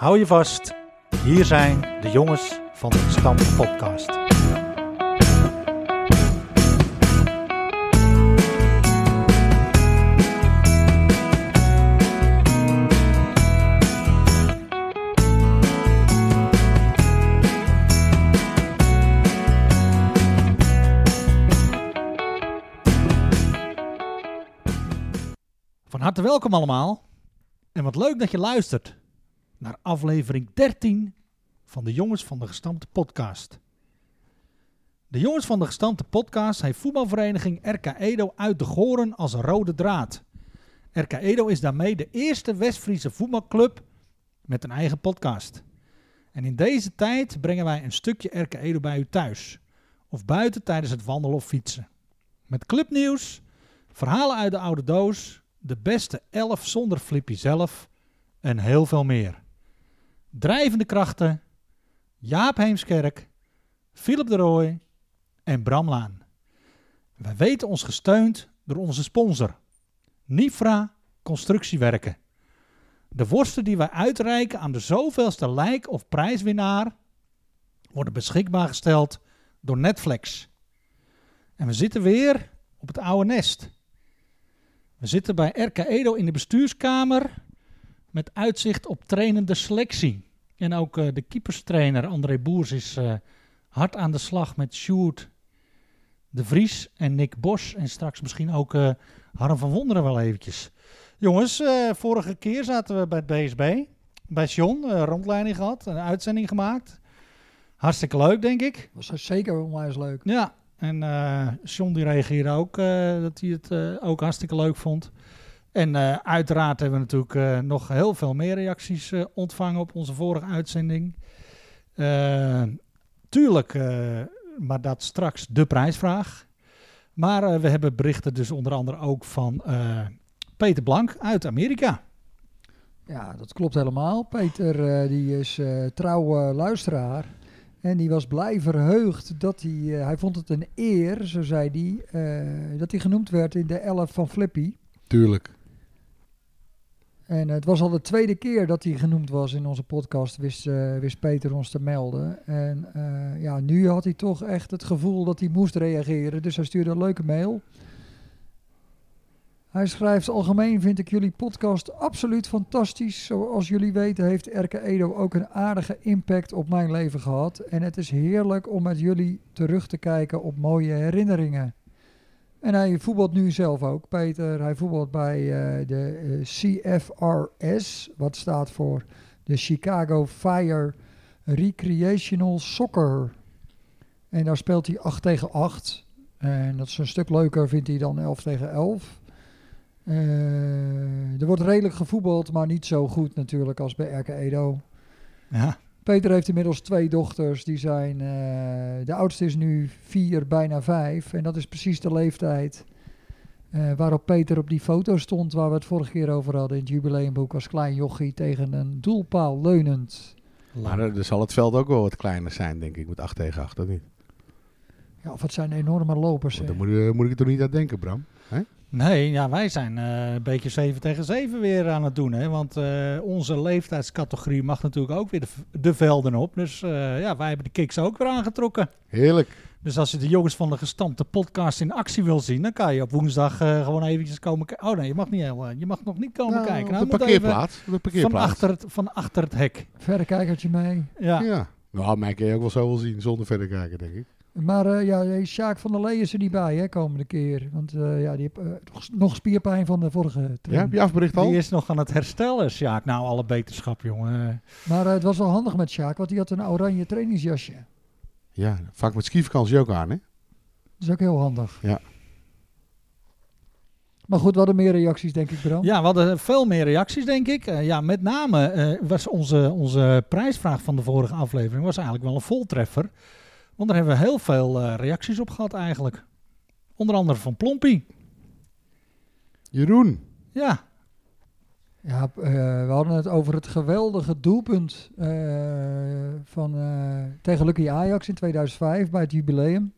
Hou je vast, hier zijn de jongens van de Stam Podcast. Van harte welkom allemaal. En wat leuk dat je luistert naar aflevering 13 van de Jongens van de Gestampte Podcast. De Jongens van de Gestampte Podcast heeft voetbalvereniging RK Edo uit de Goren als rode draad. RK Edo is daarmee de eerste West-Friese voetbalclub met een eigen podcast. En in deze tijd brengen wij een stukje RK Edo bij u thuis. Of buiten tijdens het wandelen of fietsen. Met clubnieuws, verhalen uit de oude doos, de beste elf zonder Flippy zelf en heel veel meer. Drijvende krachten, Jaap Heemskerk, Philip de Rooij en Bram Laan. Wij weten ons gesteund door onze sponsor, Nifra Constructiewerken. De worsten die wij uitreiken aan de zoveelste lijk- of prijswinnaar worden beschikbaar gesteld door Netflix. En we zitten weer op het oude nest. We zitten bij RK Edo in de bestuurskamer met uitzicht op trainende selectie. En ook eh, de keeperstrainer André Boers is eh, hard aan de slag met Sjoerd de Vries en Nick Bos. En straks misschien ook eh, Harm van Wonderen wel eventjes. Jongens, eh, vorige keer zaten we bij het BSB, bij John, eh, rondleiding gehad, een uitzending gemaakt. Hartstikke leuk, denk ik. Was dat zeker onwijs leuk. Ja, en eh John die reageerde ook eh, dat hij het eh, ook hartstikke leuk vond. En eh, uiteraard hebben we natuurlijk eh, nog heel veel meer reacties eh, ontvangen op onze vorige uitzending. Eh, tuurlijk, eh, maar dat straks de prijsvraag. Maar eh, we hebben berichten dus onder andere ook van eh, Peter Blank uit Amerika. Ja, dat klopt helemaal. Peter eh, die is eh trouw eh, luisteraar. En die was blij verheugd dat hij... eh, hij vond het een eer, zo zei hij, eh, dat hij genoemd werd in de 11 van Flippy. Tuurlijk. En eh, het was al de tweede keer dat hij genoemd was in onze podcast, wist, eh, wist Peter ons te melden. En eh, ja, nu had hij toch echt het gevoel dat hij moest reageren, dus hij stuurde een leuke mail. Hij schrijft, algemeen vind ik jullie podcast absoluut fantastisch. Zoals jullie weten heeft Erke Edo ook een aardige impact op mijn leven gehad. En het is heerlijk om met jullie terug te kijken op mooie herinneringen. En hij voetbalt nu zelf ook, Peter. Hij voetbalt bij eh, de eh, CFRS, wat staat voor de Chicago Fire Recreational Soccer. En daar speelt hij 8 tegen 8. En dat is een stuk leuker, vindt hij, dan 11 tegen 11. Eh, er wordt redelijk gevoetbald, maar niet zo goed natuurlijk als bij Erke Edo. Ja, Peter heeft inmiddels twee dochters. Die zijn, eh, de oudste is nu vier, bijna vijf. En dat is precies de leeftijd eh, waarop Peter op die foto stond... waar we het vorige keer over hadden in het jubileumboek... als klein jochie tegen een doelpaal leunend. Maar eh, er, er zal het veld ook wel wat kleiner zijn, denk ik, met 8 tegen 8, of niet? Ja, of het zijn enorme lopers. Want hè. dan moet, eh, moet ik er toch niet aan denken, Bram? Nee, ja, wij zijn eh, een beetje 7 tegen 7 weer aan het doen. Hè? Want eh, onze leeftijdscategorie mag natuurlijk ook weer de, v- de velden op. Dus eh, ja, wij hebben de kicks ook weer aangetrokken. Heerlijk. Dus als je de jongens van de gestampte podcast in actie wil zien, dan kan je op woensdag eh, gewoon eventjes komen kijken. Oh nee, je mag, niet, helemaal- je mag nog niet komen Nou, kijken. Nou, op de moet even parkeerplaats. Op de Van parkeerplaats. achter het, van achter het hek. Verrekijkertje mee. Ja. Ja. Nou, mij kun je ook wel zo wel zien, zonder verder kijken, denk ik. Maar eh, ja, nee, Sjaak van der Lee is er niet bij, hè, komende keer. Want eh, ja, die heeft eh, nog- nog spierpijn van de vorige Ja, heb training. je afbericht al? Die is nog aan het herstellen, Sjaak. Nou, alle beterschap, jongen. Maar eh, het was wel handig met Sjaak, want die had een oranje trainingsjasje. Ja, vaak met skivakantie ook aan, hè? Dat is ook heel handig. Ja. Maar goed, we hadden meer reacties, denk ik, Bram. Ja, we hadden veel meer reacties, denk ik. Eh, ja, met name eh, was onze, onze prijsvraag van de vorige aflevering was eigenlijk wel een voltreffer. Want daar hebben we heel veel eh, reacties op gehad eigenlijk. Onder andere van Plompie. Jeroen. Ja, Ja, eh, we hadden het over het geweldige doelpunt eh, van, eh, tegen Lucky Ajax in 2005 bij het jubileum.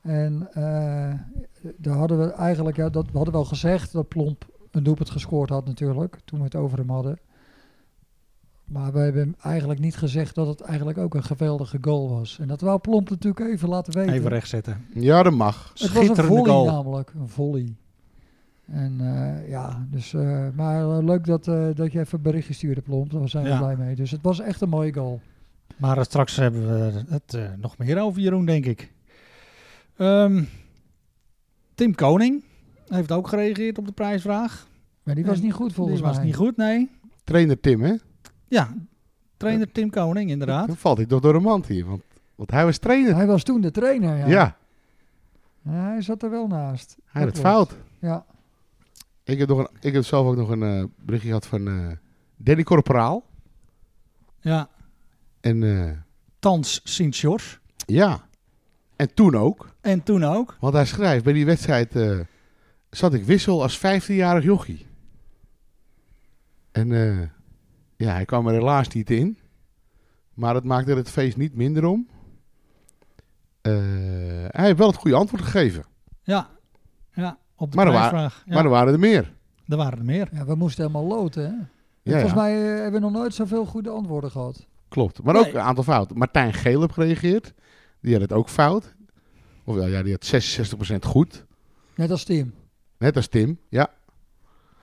En eh, daar hadden we eigenlijk, ja, dat, we hadden wel gezegd dat Plomp een doelpunt gescoord had natuurlijk, toen we het over hem hadden. Maar we hebben hem eigenlijk niet gezegd dat het eigenlijk ook een geweldige goal was. En dat wou Plomp natuurlijk even laten weten. Even rechtzetten. Ja, dat mag. het was een Schitterende volley goal. namelijk, een volley. En eh, ja, dus, eh, maar eh, leuk dat, eh, dat je even een berichtje stuurde, Plomp. Daar zijn we Ja. blij mee. Dus het was echt een mooie goal. Maar eh, straks hebben we het eh, nog meer over Jeroen, denk ik. Ehm, Tim Koning heeft ook gereageerd op de prijsvraag. Maar die En was niet goed volgens Die was mij. niet goed, nee. Trainer Tim, hè? Ja, trainer Tim Koning, inderdaad. Dan valt hij toch door de mand hier. Want, want hij was trainer. Hij was toen de trainer, ja. Ja, Ja, hij zat er wel naast. hij had het klopt. fout. Ja. Ik heb, nog een, ik heb zelf ook nog een eh, berichtje gehad van eh, Danny Corporaal. Ja, En eh, thans Sint-George. ja, en toen ook. En toen ook. Want hij schrijft, bij die wedstrijd eh, zat ik wissel als 15-jarig jochie. En eh, ja, hij kwam er helaas niet in. Maar dat maakte het feest niet minder om. Eh, hij heeft wel het goede antwoord gegeven. Ja, ja op de Maar er wa- prijsvraag. Ja, Maar er waren er meer. er waren er meer. ja, we moesten helemaal loten, hè. Ja, volgens ja, mij eh, hebben we nog nooit zoveel goede antwoorden gehad. klopt. Maar ook Nee. een aantal fouten. Martijn Geel heeft gereageerd. Die had het ook fout. Of ja, die had 66% goed. Net als Tim. Net als Tim. Ja,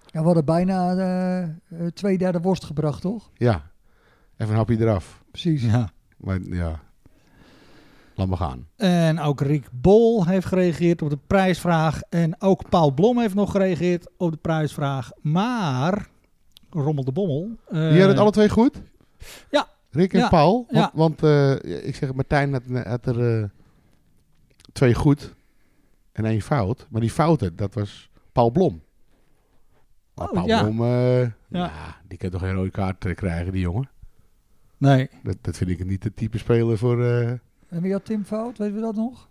Ja, we hadden bijna eh, eh, twee derde worst gebracht, toch? ja. Even een hapje eraf. Precies. Ja. Maar ja, laat maar gaan. En ook Rick Bol heeft gereageerd op de prijsvraag. En ook Paul Blom heeft nog gereageerd op de prijsvraag. Maar, rommel de bommel. eh, Die hadden het alle twee goed? Ja. Rick en Ja. Paul? Ja. Want, want eh, ik zeg, Martijn had, had er eh, twee goed en één fout. Maar die fouten, dat was Paul Blom. Maar Oh, Paul ja. Blom, eh, nou, die kan toch geen rode kaart eh, krijgen, die jongen. Nee, Dat, dat vind ik niet de type speler voor eh, En wie had Tim fout? Weten we dat nog?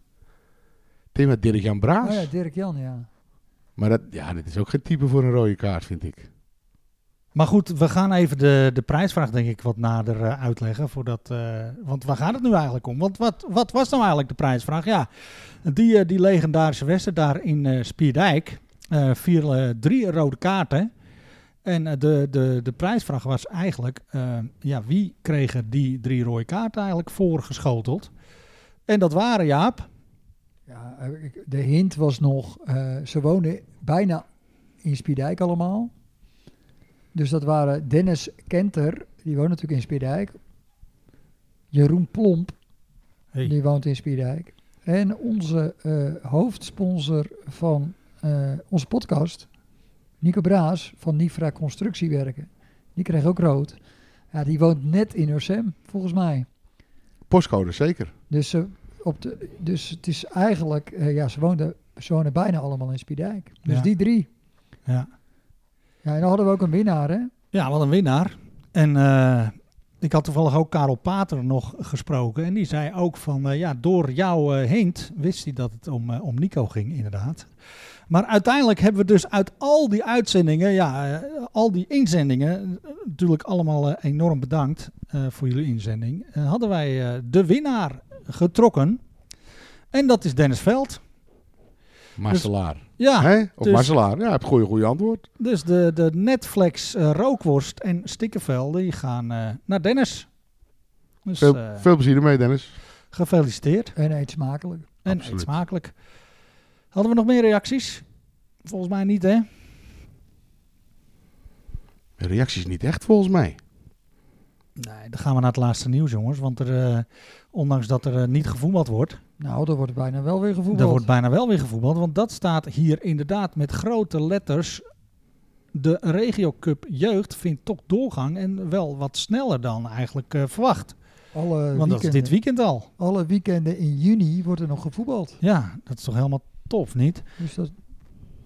Tim en Dirk-Jan Braas. Oh ja, Dirk Jan, ja. Maar dat, ja, dit is ook geen type voor een rode kaart, vind ik. maar goed, we gaan even de, de prijsvraag denk ik wat nader eh, uitleggen. Voordat, eh, want waar gaat het nu eigenlijk om? Want wat, wat was nou eigenlijk de prijsvraag? Ja, die, eh, die legendarische wedstrijd daar in eh, Spierdijk. eh viel eh, drie rode kaarten. En eh, de, de, de prijsvraag was eigenlijk, eh, ja, wie kregen die drie rode kaarten eigenlijk voorgeschoteld? En dat waren, Jaap, ja eh, ik- de hint was nog, eh, ze wonen bijna in Spiedijk allemaal. Dus dat waren Dennis Kenter, die woont natuurlijk in Spiedijk. Jeroen Plomp, Hey. die woont in Spiedijk. En onze eh, hoofdsponsor van eh, onze podcast, Nico Braas van Nifra Constructiewerken. Die kreeg ook rood. Ja, die woont net in Ursem, volgens mij. Postcode, zeker. Dus, ze op de, dus het is eigenlijk, eh, ja, ze woonden, ze wonen bijna allemaal in Spiedijk. Dus Ja. die drie. Ja. Ja, en dan hadden we ook een winnaar, hè? Ja, wat een winnaar. En eh, ik had toevallig ook Karel Pater nog gesproken. En die zei ook van, eh, ja, door jouw eh hint wist hij dat het om, eh, om Nico ging, inderdaad. Maar uiteindelijk hebben we dus uit al die uitzendingen, ja, eh, al die inzendingen, eh, natuurlijk allemaal eh, enorm bedankt eh, voor jullie inzending. eh, hadden wij eh, de winnaar getrokken. En dat is Dennis Veld. Marcelaar. Ja, Hè? Of dus- Marcelaar. Ja, heb goede, goede antwoord. dus de, de Netflix eh, rookworst en stikkervel die gaan eh, naar Dennis. Dus Veel, eh, veel plezier ermee, Dennis. gefeliciteerd En eet smakelijk. en Absoluut. eet smakelijk. Hadden we nog meer reacties? Volgens mij niet, hè? De reactie is niet echt volgens mij. Nee, dan gaan we naar het laatste nieuws, jongens. Want er, eh, ondanks dat er eh, niet gevoetbald wordt, Nou, dat wordt bijna wel weer gevoeld. er wordt bijna wel weer gevoetbald. Want dat staat hier inderdaad met grote letters. De Regio Cup Jeugd vindt toch doorgang en wel wat sneller dan eigenlijk eh, verwacht. alle, Want dat is weekenden, dit weekend al. alle weekenden in juni wordt er nog gevoetbald. Ja, dat is toch helemaal tof, niet? Dus dat,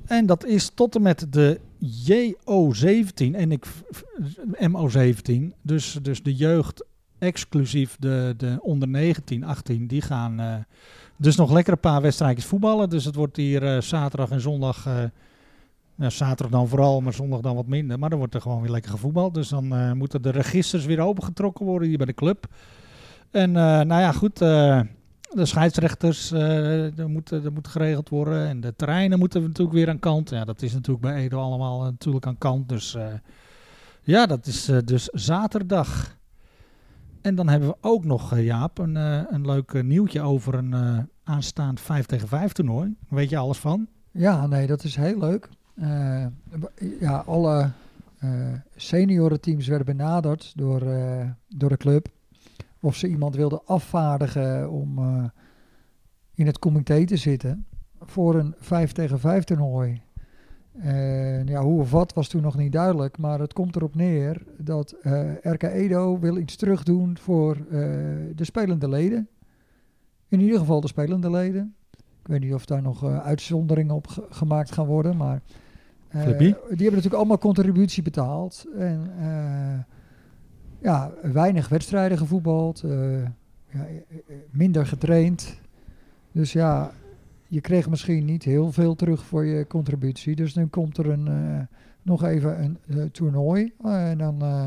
En dat is tot en met de JO17 en ik v- v- MO17. Dus, dus de jeugd, exclusief de, de onder 19, 18, die gaan eh, dus nog lekker een paar wedstrijdjes voetballen. Dus het wordt hier eh, zaterdag en zondag. eh, nou, zaterdag dan vooral, maar zondag dan wat minder. Maar dan wordt er gewoon weer lekker gevoetbald. Dus dan eh, moeten de registers weer opengetrokken worden hier bij de club. En eh, nou ja, goed. eh, de scheidsrechters, eh er, moet, er moet geregeld worden. En de terreinen moeten we natuurlijk weer aan kant. Ja, dat is natuurlijk bij Edo allemaal eh, natuurlijk aan kant. Dus eh, Ja, dat is eh, dus zaterdag. En dan hebben we ook nog, eh, Jaap, een, eh, een leuk eh, nieuwtje over een eh, aanstaand 5 tegen 5 toernooi. Daar Weet je alles van? Ja, nee, dat is heel leuk. Eh, ja, alle eh seniorenteams werden benaderd door, eh, door de club. Of ze iemand wilden afvaardigen om eh, in het comité te zitten voor een 5 tegen 5 toernooi. En ja, hoe of wat was toen nog niet duidelijk, maar het komt erop neer dat eh, RK Edo wil iets terugdoen voor eh, de spelende leden. In ieder geval de spelende leden. Ik weet niet of daar nog eh, uitzonderingen op ge- gemaakt gaan worden, maar eh, Flippy? die hebben natuurlijk allemaal contributie betaald en eh, ja, weinig wedstrijden gevoetbald, eh, ja, eh, eh, minder getraind. Dus ja, je kreeg misschien niet heel veel terug voor je contributie. Dus nu komt er een, eh, nog even een eh, toernooi. Eh, en dan eh,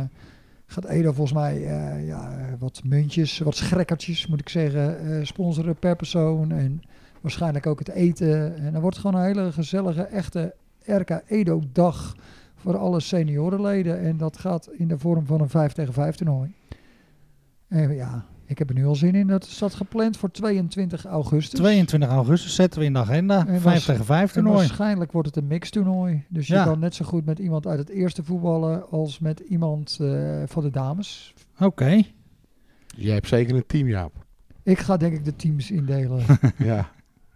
gaat Edo volgens mij eh, ja, eh, wat muntjes, wat schrekkertjes moet ik zeggen, eh, sponsoren per persoon. En waarschijnlijk ook het eten. En dan wordt het gewoon een hele gezellige, echte RK Edo-dag voor alle seniorenleden. En dat gaat in de vorm van een 5 tegen 5 toernooi. En ja, ik heb er nu al zin in. Dat staat gepland voor 22 augustus. 22 augustus zetten we in de agenda. En 5 was- tegen 5 En toernooi. waarschijnlijk wordt het een mixtoernooi. Dus je Ja. kan net zo goed met iemand uit het eerste voetballen als met iemand eh, van de dames. Oké. Jij hebt zeker een team, Jaap. Ik ga denk ik de teams indelen. ja,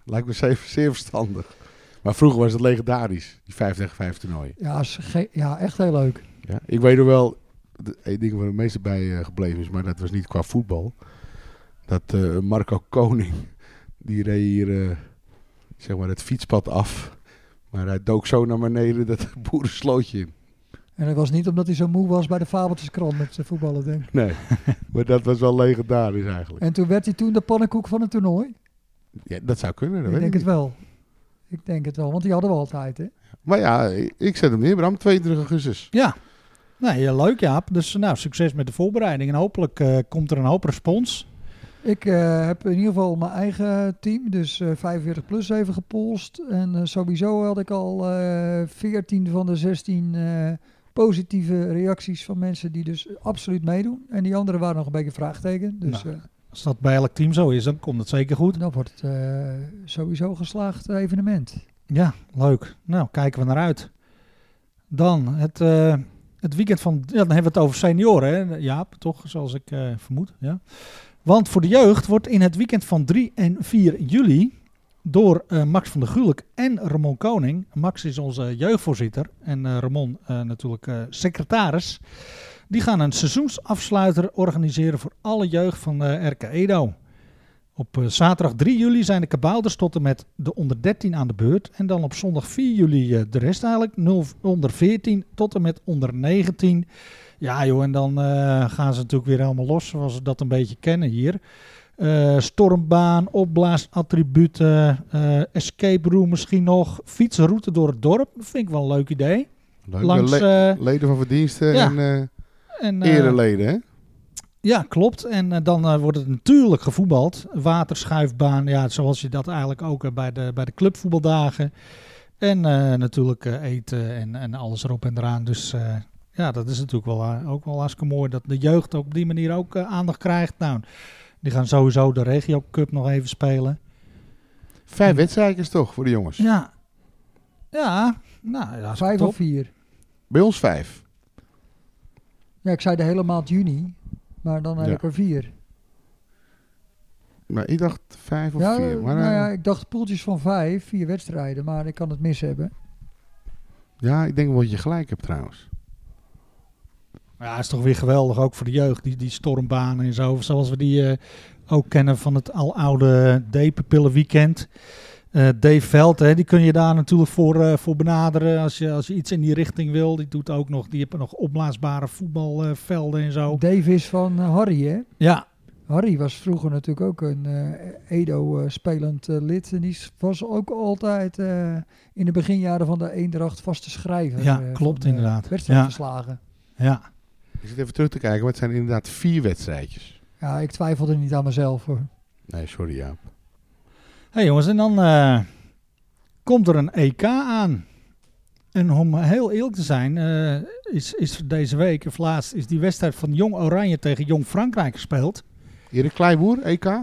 lijkt me zeer, zeer verstandig. Maar vroeger was het legendarisch, die 5 tegen 5 toernooien. ja, is ge- ja, echt heel leuk. Ja, ik weet nog wel, de- één ding waar het meeste bij eh, gebleven is, maar dat was niet qua voetbal. Dat eh, Marco Koning, die reed hier eh, zeg maar het fietspad af. Maar hij dook zo naar beneden dat boerenslootje in. En dat was niet omdat hij zo moe was bij de Fabeltjeskrant met zijn voetballen, denk ik. Nee, maar dat was wel legendarisch eigenlijk. En toen werd hij toen de pannenkoek van het toernooi. Ja, dat zou kunnen, dat ik weet denk ik het wel. Ik denk het wel, want die hadden we altijd, hè? niet. Maar ja, ik- ik zet hem neer, Bram, 22 augustus. Ja. Nou, heel leuk Jaap. Dus nou, succes met de voorbereiding. En hopelijk eh, komt er een hoop respons. Ik eh, heb in ieder geval mijn eigen team, dus eh, 45 plus even gepolst. En eh, sowieso had ik al eh 14 van de 16 eh, positieve reacties van mensen die dus absoluut meedoen. En die anderen waren nog een beetje vraagteken. Dus Nou. eh, Als dat bij elk team zo is, dan komt het zeker goed. dan wordt het eh, sowieso een geslaagd evenement. Ja, leuk. Nou, kijken we naar uit. Dan het, eh, het weekend van. Ja, dan hebben we het over senioren, hè? Jaap, toch? Zoals ik eh, vermoed. Ja. Want voor de jeugd wordt in het weekend van 3 en 4 juli. door eh, Max van der Gulik en Ramon Koning. Max is onze jeugdvoorzitter. en eh, Ramon eh, natuurlijk eh, secretaris. Die gaan een seizoensafsluiter organiseren voor alle jeugd van eh, RK Edo. Op eh, zaterdag 3 juli zijn de kabouters tot en met de onder 13 aan de beurt. En dan op zondag 4 juli eh, de rest eigenlijk. 0, onder 14 tot en met onder 19. Ja joh, en dan eh, gaan ze natuurlijk weer helemaal los zoals we dat een beetje kennen hier. Eh, stormbaan, opblaasattributen, eh, escape room misschien nog. Fietsenroute door het dorp, vind ik wel een leuk idee. Leuk. Langs, Le- eh, leden van verdiensten Ja. en eh en, eh, ereleden, hè? Ja, klopt. En eh, dan eh, wordt het natuurlijk gevoetbald. Waterschuifbaan, ja, zoals je dat eigenlijk ook eh, bij, de, bij de clubvoetbaldagen. En eh, natuurlijk eh, eten en, en alles erop en eraan. Dus eh, ja, dat is natuurlijk wel, eh, ook wel hartstikke mooi dat de jeugd ook op die manier ook eh, aandacht krijgt. Nou, die gaan sowieso de Regio Cup nog even spelen. Vijf wedstrijdjes toch voor de jongens? Ja, ja nou ja, is Vijf top. of vier. Bij ons vijf. Ja, ik zei de hele maand juni, maar dan heb Ja. ik er vier. Maar Nou, ik dacht vijf of ja, vier. Maar, nou eh, ja, ja. ik dacht poeltjes van vijf, vier wedstrijden, maar ik kan het mis hebben. ik denk wel dat je gelijk hebt trouwens. Ja, is toch weer geweldig, ook voor de jeugd, die, die stormbanen en zo. Zoals we die eh, ook kennen van het aloude D-pupillenweekend. Eh Dave Veld, hè, die kun je daar natuurlijk voor, eh, voor benaderen als je, als je iets in die richting wil. Die doet ook nog, die hebben nog opblaasbare voetbalvelden en zo. Davis van eh, Harry, hè? Ja, Harry was vroeger natuurlijk ook een eh, Edo-spelend eh, lid. En die s- was ook altijd eh, in de beginjaren van de Eendracht vaste schrijver. Ja, eh, klopt van, eh, inderdaad. Wedstrijdverslagen. ja. Ik zit even terug te kijken, maar het zijn inderdaad vier wedstrijdjes. Ja. ik twijfelde niet aan mezelf hoor. Nee, sorry Jaap. hey jongens, en dan eh, E komt er een EK aan. En om heel eerlijk te zijn, eh, is, is deze week, of laatst, is die wedstrijd van Jong Oranje tegen Jong Frankrijk gespeeld. Erik Kleiboer, E EK.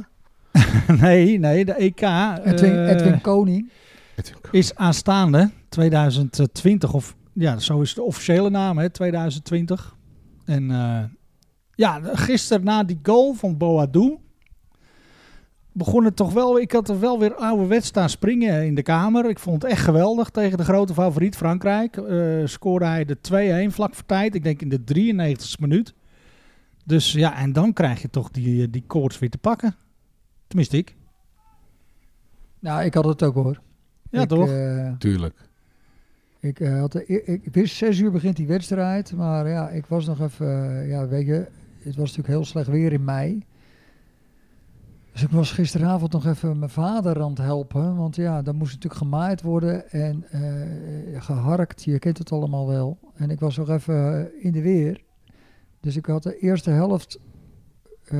nee, nee, de EK Edwin, eh, Edwin Koning. is aanstaande 2020. Of ja, zo is de officiële naam, hè, 2020. En eh, ja, gisteren na die goal van Boadu begon het toch wel... Ik had er wel weer ouderwets staan springen in de kamer. Ik vond het echt geweldig tegen de grote favoriet Frankrijk. Eh, scoorde hij de 2-1 vlak voor tijd. Ik denk in de 93 e minuut. Dus ja, en dan krijg je toch die, eh, die koorts weer te pakken. Tenminste ik. Nou, ik had het ook hoor. Ja, ik, toch? eh, Tuurlijk. ik, eh, had, de- ik, ik wist, zes uur begint die wedstrijd. Maar ja, ik was nog even... eh, ja, weet je, het was natuurlijk heel slecht weer in mei. Dus ik was gisteravond nog even mijn vader aan het helpen. Want ja, dan moest natuurlijk gemaaid worden en eh, geharkt. Je kent het allemaal wel. En ik was nog even eh, in de weer. Dus ik had de eerste helft... eh,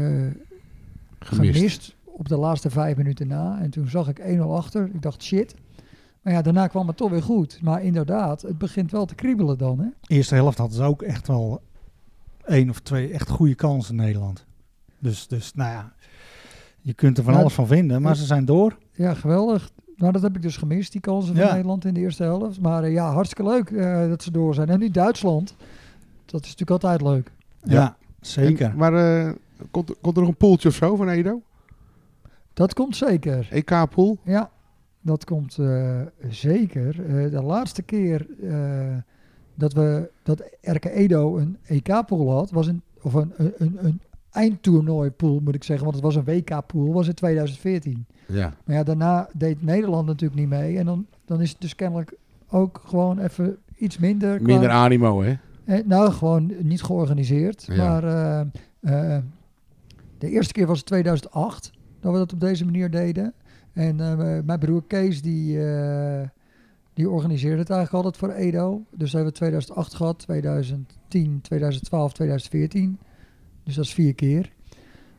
gemist. Gemist. op de laatste vijf minuten na. En toen zag ik 1-0 achter. Ik dacht, shit. Maar ja, daarna kwam het toch weer goed. Maar inderdaad, het begint wel te kriebelen dan, hè? eerste helft hadden ze ook echt wel één of twee echt goede kansen in Nederland. Dus, dus nou ja, je kunt er van Ja, alles van vinden, maar ze zijn door. Ja, geweldig. Nou, dat heb ik dus gemist, die kansen van Ja. Nederland in de eerste helft. Maar eh, ja, hartstikke leuk eh, dat ze door zijn. En nu Duitsland. Dat is natuurlijk altijd leuk. Ja, zeker. En- maar eh, komt, komt er nog een poeltje of zo van Edo? E Dat komt zeker. EK-pool? Ja, dat komt eh, zeker. Eh, de laatste keer eh, dat we dat RK Edo een EK-pool had, was een, of een, een, een, een eindtoernooi-pool moet ik zeggen, want het was een WK-pool, was in 2014. Ja. Maar ja, daarna deed Nederland natuurlijk niet mee en dan, dan is het dus kennelijk ook gewoon even iets minder. qua- Minder animo, hè? eh, nou, gewoon niet georganiseerd. Ja. Maar eh, eh, de eerste keer was het 2008 dat we dat op deze manier deden. En eh, mijn broer Kees, die, eh, die organiseerde het eigenlijk altijd voor Edo. Dus we hebben we 2008 gehad, 2010, 2012, 2014. Dus dat is vier keer.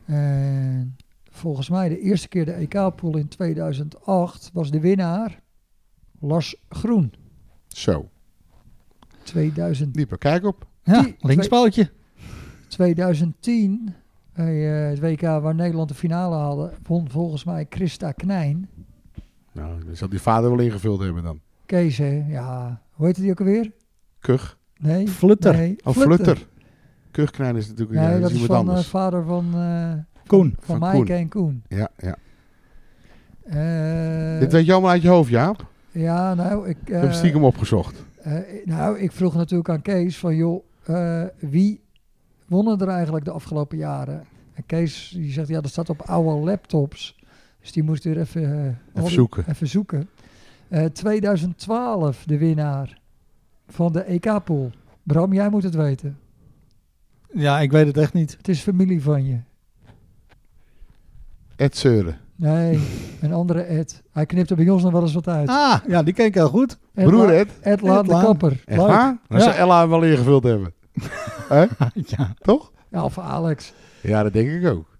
En volgens mij de eerste keer de EK-pool in 2008 was de winnaar Lars Groen. Zo. 2010. Dieper, kijk op. ja, die- linkspootje. 2010, bij eh, het WK waar Nederland de finale hadden, won volgens mij Christa Knijn. Nou, dan zal die vader wel ingevuld hebben dan. Kees, hè? Ja, hoe heette die ook alweer? Kuch. Nee. Flutter. Nee, Oh, Flutter. Kuchknijn is natuurlijk ja, Nee, dat dat is is iemand van eh, de anders. vader van, eh Koen. van, Van Maaike Koen. en Koen. ja, ja. Eh, Dit weet je allemaal uit je hoofd, Jaap? Ik ja, nou ik, heb eh, het stiekem opgezocht. eh, nou, ik vroeg natuurlijk aan Kees van, joh, eh, wie wonnen er eigenlijk de afgelopen jaren? En Kees die zegt, ja, dat staat op oude laptops. Dus die moest weer even, eh, al Even die- zoeken. Even zoeken. Eh, 2012 de winnaar van de EK-pool. Bram, jij moet het weten. Ja, ik weet het echt niet. Het is familie van je. Ed Zeuren. Nee, een andere Ed. Hij knipt er bij ons nog wel eens wat uit. Ah, ja, die ken ik heel goed. Ed Broer La- Ed. Ed Laan de Laan. Kapper. Echt Leuk. waar? Dan zou Ja. Ella hem wel ingevuld hebben. Hè? ja. Toch? Ja, of Alex. Ja, dat denk ik ook.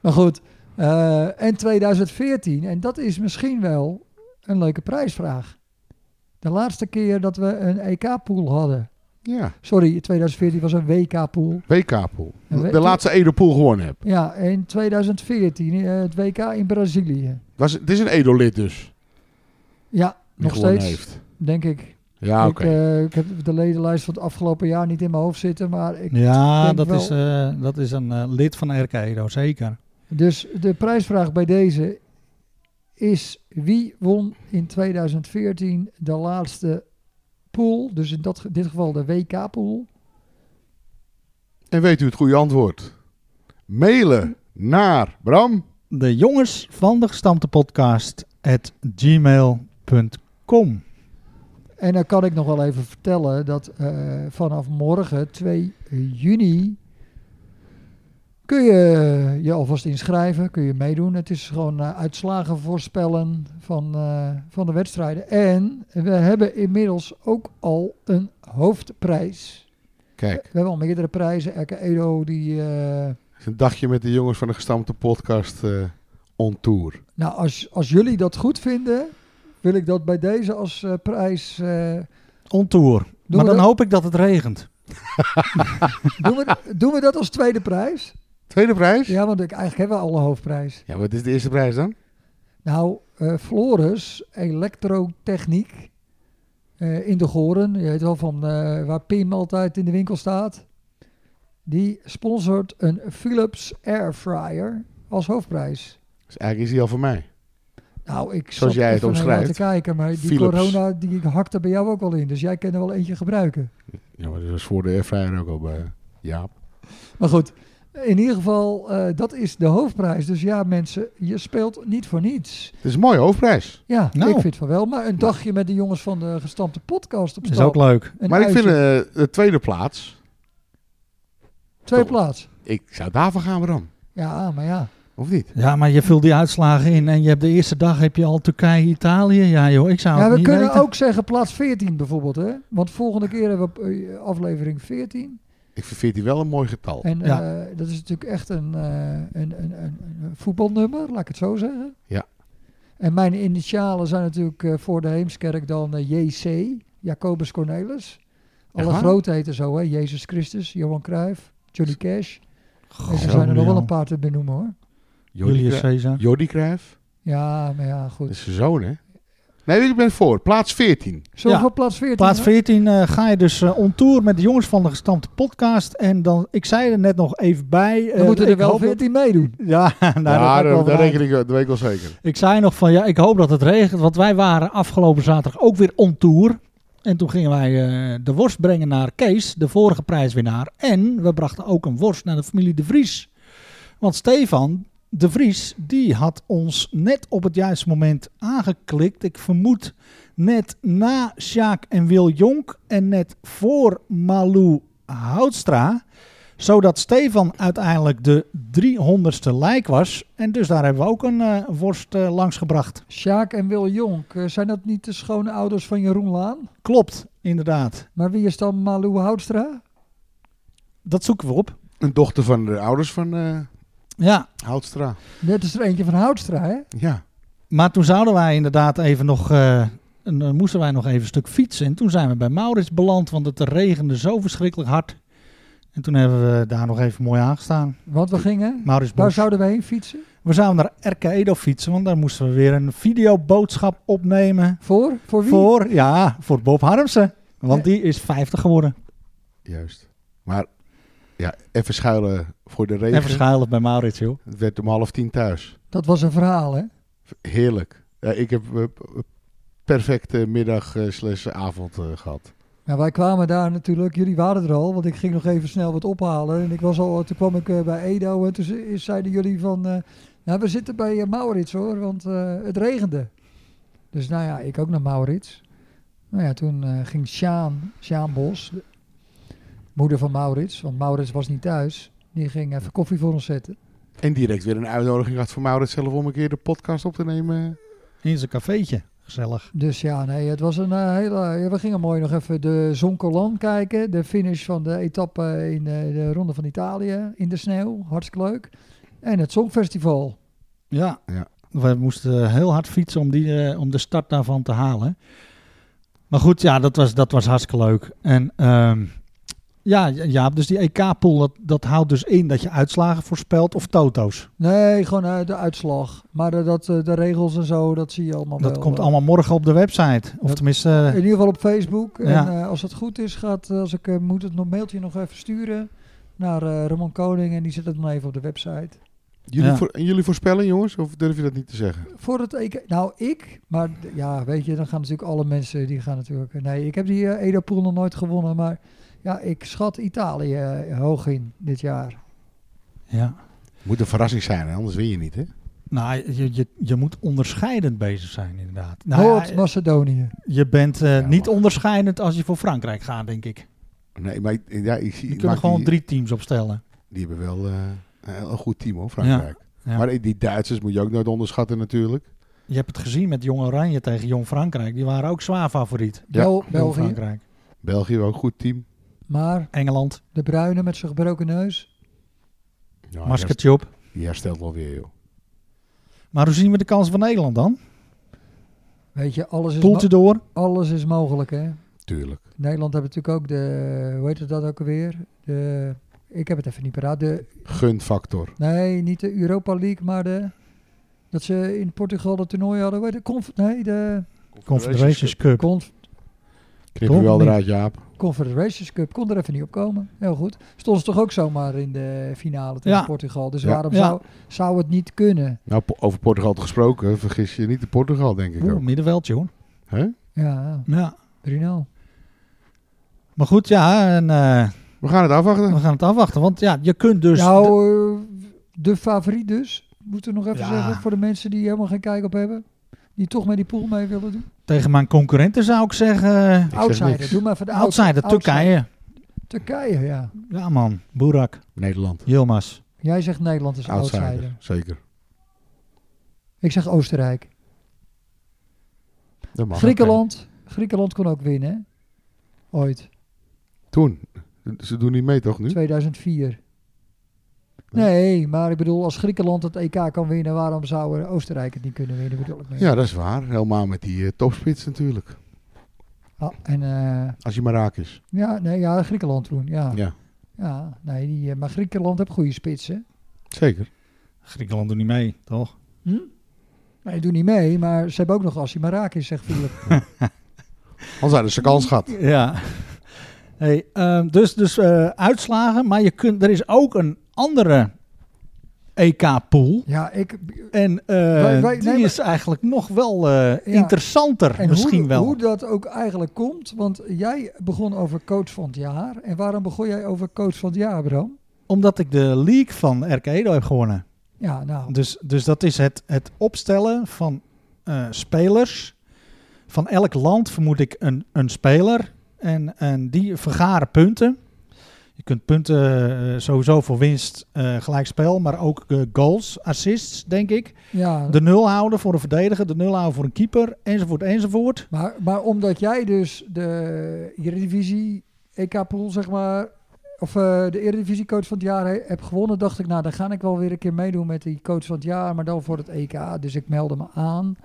Maar goed. eh, en 2014. En dat is misschien wel een leuke prijsvraag. De laatste keer dat we een EK-pool hadden. Ja. Sorry, 2014 was een WK-pool. WK-pool. En we- De laatste Edo-pool gewonnen heb. Ja, in 2014 eh, het WK in Brazilië. Was, het is een Edo-lid dus. die Ja, nog gewonnen steeds, Heeft. denk ik. Ja, ik, Ah, oké. eh, ik heb de ledenlijst van het afgelopen jaar niet in mijn hoofd zitten, maar ik... Ja, denk dat wel- is, eh, dat is een eh, lid van RK Edo, zeker. Dus de prijsvraag bij deze is wie won in 2014 de laatste pool, dus in dat, ge- dit geval de WK-pool. En weet u het goede antwoord? Mailen naar Bram. De jongens van de gestampte podcast at gmail.com. En dan kan ik nog wel even vertellen dat eh, vanaf morgen, 2 juni, kun je je alvast inschrijven, kun je meedoen. Het is gewoon eh, uitslagen voorspellen van, eh, van de wedstrijden. En we hebben inmiddels ook al een hoofdprijs. We Kijk, hebben al meerdere prijzen. Erke Edo, die... eh, het is een dagje met de jongens van de gestampte podcast eh, on tour. nou, als, als jullie dat goed vinden, wil ik dat bij deze als eh, prijs... eh, On tour. Doen, maar we dan dat, hoop ik dat het regent. doen, we, doen we dat als tweede prijs? Tweede prijs? Ja. Ja, want ik, eigenlijk hebben we al een hoofdprijs. wat is de eerste prijs dan? Nou, eh Flores, elektrotechniek eh, in de Goren. Je weet wel van eh, waar Pim altijd in de winkel staat. Die sponsort een Philips Airfryer als hoofdprijs. Dus eigenlijk is die al voor mij. Nou, ik Zoals zat jij het even naar jou omschrijft. te kijken, maar die Philips. corona die hakt er bij jou ook al in. Dus jij kan er wel eentje gebruiken. Ja, maar dat was voor de airfryer ook al bij Jaap. Maar goed, in ieder geval, eh, dat is de hoofdprijs. Dus ja, mensen, je speelt niet voor niets. Het is een mooie hoofdprijs. Ja, Nou. ik vind van wel. Maar een dagje met de jongens van de gestampte podcast op Is stap. ook leuk. Een maar ik uitje. vind eh, de tweede plaats... Twee plaats. Ik zou daarvoor gaan, Bram. Ja, maar ja. Of niet? Ja, maar je vult die uitslagen in en je hebt de eerste dag heb je al Turkije, Italië. Ja joh, ik zou ja het we Nou, niet kunnen weten. ook zeggen plaats 14 bijvoorbeeld. Hè? Want volgende keer hebben we eh, aflevering 14. Ik vind 14 wel een mooi getal. En Ja. eh, dat is natuurlijk echt een, eh, een, een, een, een voetbalnummer, laat ik het zo zeggen. Ja. En mijn initialen zijn natuurlijk eh, voor de Heemskerk dan eh, JC, Jacobus Cornelis. Alle Echt waar? grootheten zo, hè? Jezus Christus, Johan Cruijff, Johnny Cash. en Zo, er zijn er nog wel joh. een paar te benoemen hoor. Julius Cru- Caesar. Jordi Cruijff. Ja, maar ja, Dat goed. Dus- is zijn zoon, hè? Nee, ik ben voor. Plaats 14. Zullen we Ja. voor plaats 14? Plaats hè? 14 eh, ga je dus eh on tour met de jongens van de gestampte podcast. En dan, ik zei er net nog even bij. eh, Dan moeten er ik wel hoop dat- 14 meedoen. Ja, nou, ja, dat, daar, daar ik. reken ik, dat weet ik wel zeker. Ik zei nog van ja, ik hoop dat het regent. Want wij waren afgelopen zaterdag ook weer on tour. En toen gingen wij eh, de worst brengen naar Kees, de vorige prijswinnaar. En we brachten ook een worst naar de familie De Vries. Want Stefan De Vries, die had ons net op het juiste moment aangeklikt. Ik vermoed net na Sjaak en Wil Jonk en net voor Malou Houtstra. Zodat Stefan uiteindelijk de 300ste lijk was. En dus daar hebben we ook een eh, worst eh, langsgebracht. Sjaak en Wil Jonk, eh, zijn dat niet de schone ouders van Jeroen Laan? Klopt, inderdaad. Maar wie is dan Malou Houtstra? Dat zoeken we op. Een dochter van de ouders van eh, Ja, Houtstra. Net is er eentje van Houtstra, hè? Ja. maar toen zouden wij inderdaad even nog... eh, en dan moesten wij nog even een stuk fietsen. En toen zijn we bij Maurits beland, want het regende zo verschrikkelijk hard. En toen hebben we daar nog even mooi aangestaan. Want we gingen... Maurits Waar Bos. zouden we heen fietsen? We zouden naar RK Edo fietsen, want daar moesten we weer een videoboodschap opnemen. Voor? Voor wie? Voor, ja, voor Bob Harmsen. Want die is 50 geworden. Juist. Maar ja, even schuilen voor de regen. En verschuilen bij Maurits, joh. Het werd om half tien thuis. Dat was een verhaal, hè? Heerlijk. Ja, ik heb eh, perfecte middag eh, slash avond eh, gehad. Nou, wij kwamen daar natuurlijk, jullie waren er al, want ik ging nog even snel wat ophalen. En ik was al, toen kwam ik eh, bij Edo en toen ze- zeiden jullie van, eh, nou we zitten bij eh, Maurits hoor, want eh, het regende. Dus nou ja, ik ook naar Maurits. Nou ja, toen eh, ging Sjaan, Sjaan Bos, de moeder van Maurits, want Maurits was niet thuis. Die ging even koffie voor ons zetten. En direct weer een uitnodiging had voor Maurits zelf om een keer de podcast op te nemen. In zijn cafeetje. Gezellig. Dus ja, nee, het was een eh, hele... ja, we gingen mooi nog even de Zonkolan kijken. De finish van de etappe in eh, de Ronde van Italië in de sneeuw. Hartstikke leuk. En het Songfestival. Ja. Ja. We moesten heel hard fietsen om, die, eh, om de start daarvan te halen. Maar goed, ja, dat was, dat was hartstikke leuk. En ehm, ja, ja, dus die EK-pool, dat, dat houdt dus in dat je uitslagen voorspelt of toto's. Nee, gewoon eh, de uitslag. Maar eh, dat, eh, de regels en zo, dat zie je allemaal Dat wel, komt eh. allemaal morgen op de website. Of Dat- tenminste... In eh, ieder geval op Facebook. En Ja. eh, als het goed is, gaat, eh, als ik eh, moet het nog mailtje nog even sturen naar eh Ramon Koning. En die zet het nog even op de website. Jullie, Ja. voor, en jullie voorspellen, jongens? Of durf je dat niet te zeggen? Voor het EK. Nou, ik. Maar d- ja, weet je, dan gaan natuurlijk alle mensen. Die gaan natuurlijk. Nee, ik heb die eh, Edo Pool nog nooit gewonnen. Maar ja, ik schat Italië eh, hoog in dit jaar. ja. Moet een verrassing zijn, hè? anders win je niet, hè? Nou, je, je, je moet onderscheidend bezig zijn, inderdaad. Nou, ja, Noord-Macedonië. je bent eh, Ja, niet maar- onderscheidend als je voor Frankrijk gaat, denk ik. Nee, maar ik- ja, ik zie... Je maar kunt er gewoon die, drie teams opstellen. Die hebben wel eh, een een goed team, hoor, Frankrijk. ja. Maar die Duitsers moet je ook nooit onderschatten, natuurlijk. Je hebt het gezien met Jong Oranje tegen Jong Frankrijk. Die waren ook zwaar favoriet. Jong Bel- België. Frankrijk. België ook een goed team. Maar Engeland, de Bruine met zijn gebroken neus. Ja, ja, maskertje op. Die herstelt wel weer, joh. Maar hoe zien we de kans van Nederland dan? Weet je, alles is, Poeltje mo- door. alles is mogelijk, hè? Tuurlijk. Nederland hebben natuurlijk ook de, hoe heet het dat ook alweer? De, ik heb het even niet paraat. De, Gunfactor. nee, niet de Europa League, maar de, dat ze in Portugal dat toernooi hadden. Hoe heet het? Conf- nee, de Confederations Cup. Conf- Knip je Toch? wel Niet. eruit, Jaap. Confederations Cup kon er even niet op komen. Heel goed. Stonden ze toch ook zomaar in de finale tegen Ja. Portugal. Dus Ja. waarom Ja. Zou, zou het niet kunnen? Nou, po- over Portugal te gesproken, vergis je niet de Portugal, denk ik Oeh, ook. middenveldje hoor. Hè? Ja, Ja. 3-0. Maar goed, ja, en, eh, We gaan het afwachten. we gaan het afwachten. Want ja, je kunt dus... nou, eh, de favoriet dus. Moeten we nog even Ja. zeggen. Voor de mensen die helemaal geen kijk op hebben. Die toch met die pool mee willen doen. d- tegen mijn concurrenten zou ik zeggen... zeg niks. Outsider. Doe maar van de outs- outsider, Turkije. Turkije, ja. Ja man, Burak, Nederland. Yilmaz. Jij zegt Nederland is outsider. Outsider. Zeker. Ik zeg Oostenrijk. Dat mag. Griekenland. Griekenland kon ook winnen. hè? Ooit. Oké. Toen. Ze doen niet mee, toch nu? 2004. Nee, maar ik bedoel, als Griekenland het EK kan winnen, waarom zou eh, Oostenrijk het niet kunnen winnen? Bedoel ik mee. Ja, dat is waar. Helemaal met die eh, topspits natuurlijk. Ah, en eh, Als je maar raak is. ja, nee, ja, Griekenland toen. Ja, ja. Ja, nee, die, eh, maar Griekenland heeft goede spitsen. zeker. Griekenland doet niet mee, toch? Hm? Nee, doe niet mee, maar ze hebben ook nog Asimarakis, zegt Philip. Anders hadden ze kans gehad. Ja. Hey, ehm, dus dus eh, uitslagen, maar je kunt, er is ook een andere EK-pool. ja, ik, En eh, Wij- wij- die nee, is eigenlijk nog wel eh, Ja. interessanter, en misschien hoe, wel. hoe dat ook eigenlijk komt, want jij begon over coach van het jaar. En waarom begon jij over coach van het jaar, Bram? Omdat ik de league van RK Edo heb gewonnen. Ja, nou, Dus, dus dat is het, het opstellen van eh, spelers. Van elk land vermoed ik een, een speler. En, en die vergaren punten. Je kunt punten eh, sowieso voor winst, eh gelijk spel, maar ook eh, goals, assists, denk ik. ja, De nul houden voor een verdediger, de nul houden voor een keeper, enzovoort, enzovoort. Maar, maar omdat jij dus de Eredivisie EK-pool, zeg maar, of eh, de Eredivisie-coach van het jaar he- hebt gewonnen, dacht ik, nou, dan ga ik wel weer een keer meedoen met die coach van het jaar, maar dan voor het EK. Dus ik meldde me aan.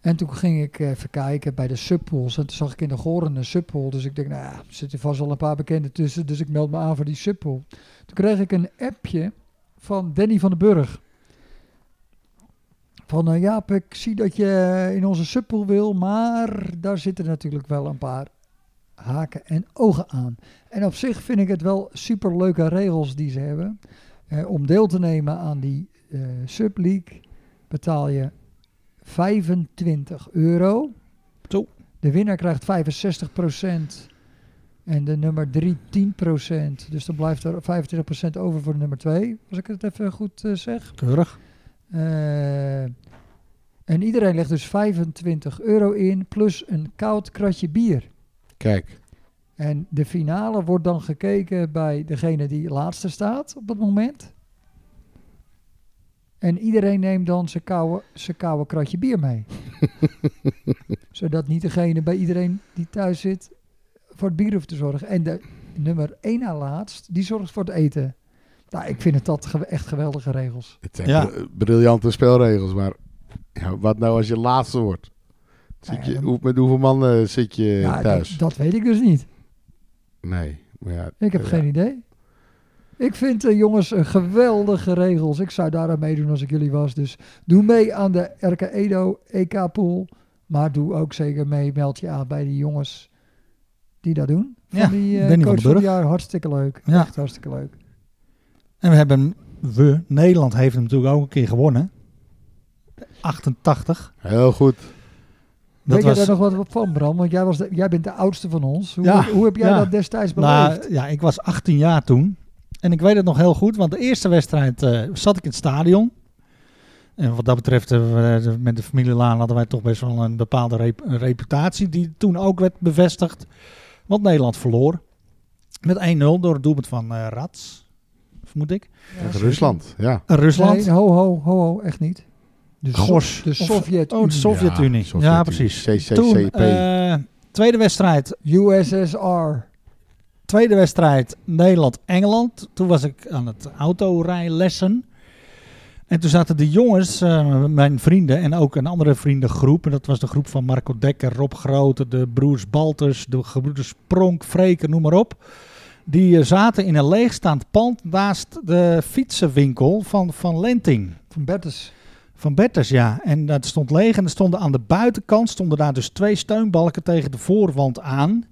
En toen ging ik eh, even kijken bij de subpools. En toen zag ik in de Goren een subpool. Dus ik denk, nou ja, er zitten vast wel een paar bekenden tussen. Dus ik meld me aan voor die subpool. Toen kreeg ik een appje van Danny van den Burg. Van eh, Jaap, ik zie dat je in onze subpool wil, maar daar zitten natuurlijk wel een paar haken en ogen aan. En op zich vind ik het wel super leuke regels die ze hebben. Eh, om deel te nemen aan die eh subleague betaal je 25 euro. Zo. De winnaar krijgt 65% en de nummer 3 10%. Dus dan blijft er 25% over voor de nummer 2, als ik het even goed eh, zeg. Keurig. Eh, en iedereen legt dus 25 euro in, plus een koud kratje bier. Kijk, En de finale wordt dan gekeken bij degene die laatste staat op dat moment. En iedereen neemt dan zijn koude, zijn koude kratje bier mee. Zodat niet degene bij iedereen die thuis zit voor het bier hoeft te zorgen. En de nummer 1 na laatst, die zorgt voor het eten. Nou, ik vind het dat ge- echt geweldige regels. het zijn Ja. br- briljante spelregels, maar ja, wat nou als je laatste wordt? Zit Nou ja, je, dan- hoe- met hoeveel man eh, zit je Nou, thuis? Dat, dat weet ik dus niet. Nee. Maar ja, Ik heb eh, geen idee. Ik vind eh, jongens eh, geweldige regels. Ik zou daar aan meedoen als ik jullie was. Dus doe mee aan de RK Edo EK pool. Maar doe ook zeker mee. Meld je aan bij die jongens die dat doen. Van Ja, die eh, Danny van coach den van het Burg. jaar. Hartstikke leuk. Ja. Echt hartstikke leuk. En we hebben, we, Nederland heeft hem natuurlijk ook een keer gewonnen. 88. Heel goed. Dat Weet was, jij daar nog wat van, Bram? Want jij, was de- jij bent de oudste van ons. Hoe, Ja, hoe heb jij ja. dat destijds beleefd? Nou, ja, ik was 18 jaar toen. En ik weet het nog heel goed, want de eerste wedstrijd eh, zat ik in het stadion. En wat dat betreft, eh, we, eh, met de familie Laan hadden wij toch best wel een bepaalde rep- een reputatie. Die toen ook werd bevestigd. Want Nederland verloor. Met 1-0 door het doelpunt van eh, Rats, vermoed ik. Ja, Tegen Rusland, ja. Eh, Rusland. Nee, ho, ho, ho, ho, echt niet. De, So- Gors. de Of- Sovjet-Unie. Oh, de Sovjet-Unie. Ja, Ja, Sovjet-Unie. precies. CCCP. Toen, eh, tweede wedstrijd USSR. Tweede wedstrijd Nederland-Engeland. Toen was ik aan het autorijlessen. En toen zaten de jongens, eh, mijn vrienden en ook een andere vriendengroep. En dat was de groep van Marco Dekker, Rob Grote, de broers Balters, de gebroeders Pronk, Freker, noem maar op. Die eh, zaten in een leegstaand pand naast de fietsenwinkel van, van Lenting. Van Bertus. Van Bertus, ja. En dat stond leeg. En er stonden aan de buitenkant stonden daar dus twee steunbalken tegen de voorwand aan.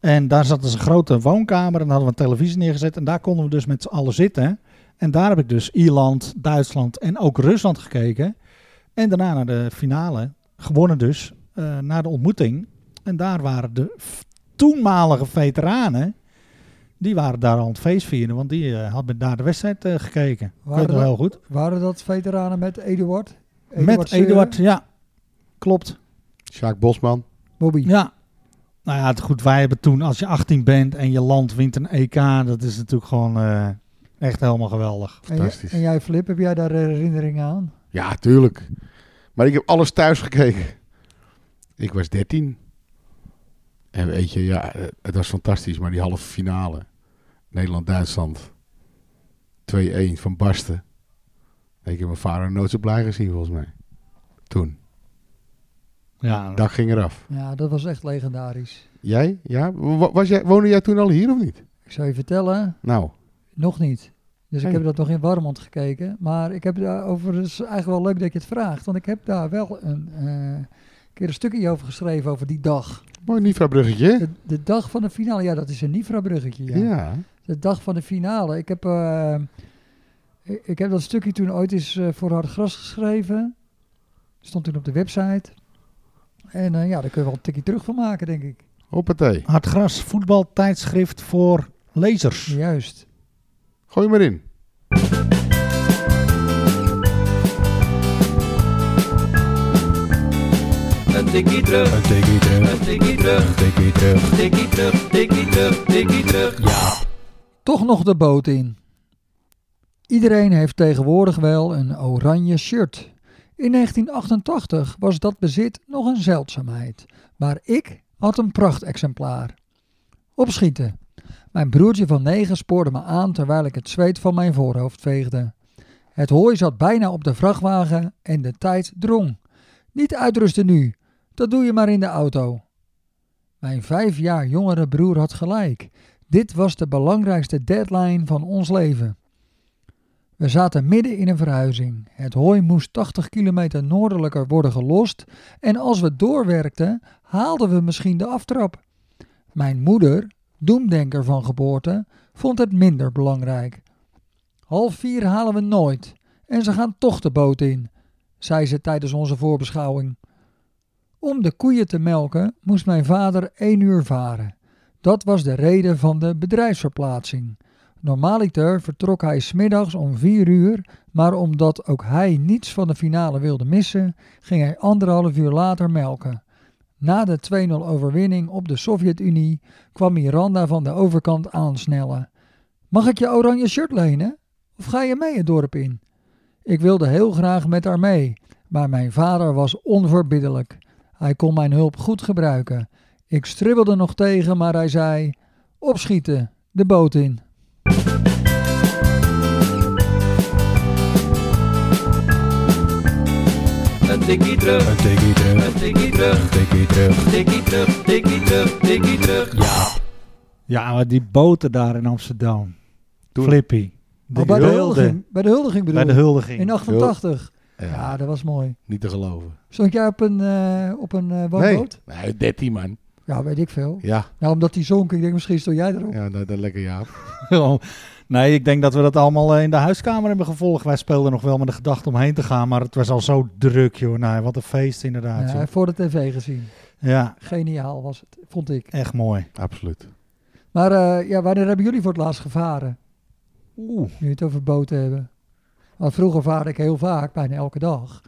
En daar zat dus een grote woonkamer. En daar hadden we een televisie neergezet. En daar konden we dus met z'n allen zitten. En daar heb ik dus Ierland, Duitsland en ook Rusland gekeken. En daarna naar de finale. Gewonnen dus. eh naar de ontmoeting. En daar waren de v- toenmalige veteranen. Die waren daar al aan het feest vieren. Want die eh, had met daar de wedstrijd eh, gekeken. Ik weet Waren het nog dat- heel goed. Waren dat veteranen met Eduard? Met Seure? Eduard, ja. Klopt. Sjaak Bosman. Bobby. Ja. Nou ja, het goed, wij hebben toen, als je 18 bent en je land wint een EK, dat is natuurlijk gewoon eh, echt helemaal geweldig. En, Fantastisch. j- en jij, Flip, heb jij daar herinneringen aan? Ja, tuurlijk. Maar ik heb alles thuis gekeken. Ik was 13. En weet je, ja, eh, het was fantastisch. Maar die halve finale. Nederland-Duitsland. 2-1 van Barsten. Ik heb mijn vader nooit zo blij gezien, volgens mij. Toen. Ja, Dat ging eraf. Ja, dat was echt legendarisch. Jij? Ja? Wa- Was jij, woonde jij toen al hier of niet? Ik zou je vertellen, Nou, nog niet. Dus Hey. ik heb dat nog in Warmond gekeken. Maar ik heb daar over, het is eigenlijk wel leuk dat je het vraagt. Want ik heb daar wel een eh, keer een stukje over geschreven, over die dag. mooi Nifra-bruggetje. De, de dag van de finale, ja, dat is een Nifra-bruggetje. Ja. Ja. De dag van de finale. Ik heb, eh, ik, ik heb dat stukje toen ooit eens eh, voor Hard Gras geschreven. Stond toen op de website. En eh, ja, daar kun je wel een tikje terug van maken, denk ik. Hoppatee. hard gras, voetbaltijdschrift voor lezers. Juist. Gooi maar in. Een tikkie terug, Een tikkie terug, een tikkie terug, een tikkie terug. tikkie terug, tikkie terug, tikkie terug. Toch nog de boot in. Iedereen heeft tegenwoordig wel een oranje shirt. In 1988 was dat bezit nog een zeldzaamheid, maar ik had een prachtexemplaar. Opschieten. Mijn broertje van negen spoorde me aan terwijl ik het zweet van mijn voorhoofd veegde. Het hooi zat bijna op de vrachtwagen en de tijd drong. Niet uitrusten nu, dat doe je maar in de auto. Mijn vijf jaar jongere broer had gelijk. Dit was de belangrijkste deadline van ons leven. We zaten midden in een verhuizing. Het hooi moest 80 kilometer noordelijker worden gelost en als we doorwerkten haalden we misschien de aftrap. Mijn moeder, doemdenker van geboorte, vond het minder belangrijk. Half vier halen we nooit en ze gaan toch de boot in, zei ze tijdens onze voorbeschouwing. Om de koeien te melken moest mijn vader één uur varen. Dat was de reden van de bedrijfsverplaatsing. Normaliter vertrok hij smiddags om vier uur, maar omdat ook hij niets van de finale wilde missen, ging hij anderhalf uur later melken. Na de 2-0 overwinning op de Sovjet-Unie kwam Miranda van de overkant aansnellen. Mag ik je oranje shirt lenen? Of ga je mee het dorp in? Ik wilde heel graag met haar mee, maar mijn vader was onverbiddelijk. Hij kon mijn hulp goed gebruiken. Ik stribbelde nog tegen, maar hij zei: Opschieten, de boot in. Een tikkie terug, Een tikkie terug, een tikkie terug, een tikkie terug. tikkie terug, tikkie terug, tikkie terug. Ja, maar die boten daar in Amsterdam. Toen- Flippy. Oh, Die bij, de hulde. huldiging, bij de huldiging bedoel Bij de ik. huldiging. In 88. Ja, Ja, dat was mooi. niet te geloven. Stond jij op een, eh op een eh, Nee. woonboot? nee, 13 man. Ja, weet ik veel. Ja, Nou, omdat die zonk, ik denk misschien stond jij erop. ja dat, dat lekker Jaap. Oh, nee, ik denk dat we dat allemaal eh, in de huiskamer hebben gevolgd. Wij speelden nog wel met de gedachte om heen te gaan, maar het was al zo druk, joh. Nee, wat een feest inderdaad, Ja, joh. voor de tv gezien. Ja, Geniaal was het, vond ik. echt mooi. Absoluut. Maar eh, ja, wanneer hebben jullie voor het laatst gevaren? Oeh. Nu het over boten hebben. Want vroeger vaarde ik heel vaak, bijna elke dag.